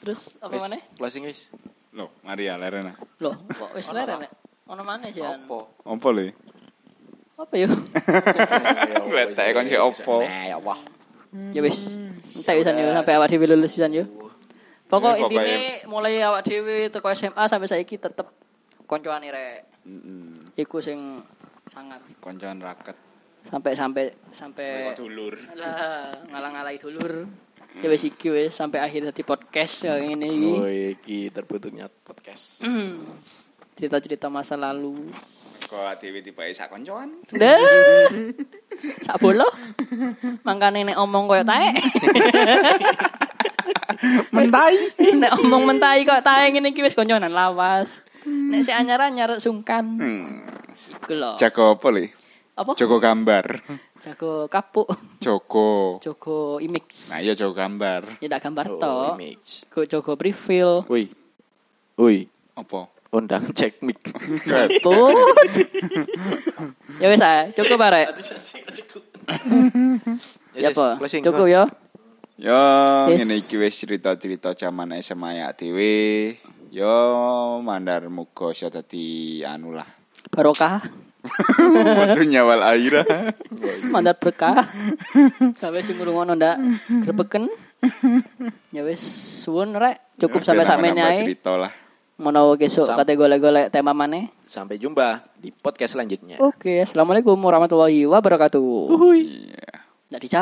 Speaker 1: Terus apa
Speaker 3: Wis,
Speaker 1: maneh?
Speaker 3: closing wis.
Speaker 2: Loh, ya, Maria Lerena.
Speaker 1: Loh, kok wis leren nek ono maneh jan.
Speaker 3: Apa?
Speaker 2: Apa le?
Speaker 1: Apa yo?
Speaker 2: Ya, Ngletek kon si opo.
Speaker 3: Nah, ya wah.
Speaker 1: Ya wis. Entek wisan yo sampai awak dhewe lulus wisan yo. Pokok
Speaker 2: Wis, pokoknya-
Speaker 1: intine mulai awak dhewe teko SMA sampai saiki tetep koncoane rek. Iku sing sangar.
Speaker 2: Koncoan raket.
Speaker 1: Sampai sampai sampai
Speaker 2: Dulur.
Speaker 1: lah ngalang-alai dulur. Ya wis iki wis sampai akhir dari podcast ya ngene iki.
Speaker 3: Oh, iki terbentuknya podcast.
Speaker 1: Hmm. Cerita-cerita masa lalu.
Speaker 2: Kok dhewe tiba sak koncoan.
Speaker 1: Dah. Sak bolo. Mangkane nek omong koyo taek. mentai. nek omong mentai koyo taek ngene iki wis konconan lawas. Nek si anyar-anyar sungkan. Iku lho.
Speaker 2: Jago apa le?
Speaker 1: Apa?
Speaker 2: Jago gambar.
Speaker 1: Jago kapuk,
Speaker 2: Jago.
Speaker 1: jago imix.
Speaker 2: Nah, iya jago gambar.
Speaker 1: Ya ndak gambar to.
Speaker 3: Oh, image.
Speaker 1: Go jago prefil.
Speaker 3: Woi. Woi,
Speaker 2: Apa?
Speaker 3: undang cek mic.
Speaker 1: Tuh. Oh. ya wis ah, cukup arek. Ya apa? Cukup yo.
Speaker 2: Yo,
Speaker 1: Yes.
Speaker 2: ngene iki wis cerita-cerita jaman SMA ya dhewe. Yo, mandar muga iso dadi anu lah.
Speaker 1: Barokah,
Speaker 2: Waduh nyawal aira.
Speaker 1: mandat berkah. Sampai sing ngrungono ndak grebeken. Ya wis suwun rek, cukup sampai sakmene ae.
Speaker 2: Cerita lah.
Speaker 1: Menawa besok kate golek-golek tema maneh.
Speaker 3: Sampai jumpa di podcast selanjutnya.
Speaker 1: Oke, assalamualaikum warahmatullahi wabarakatuh. Uhuy. Ndak dijawab.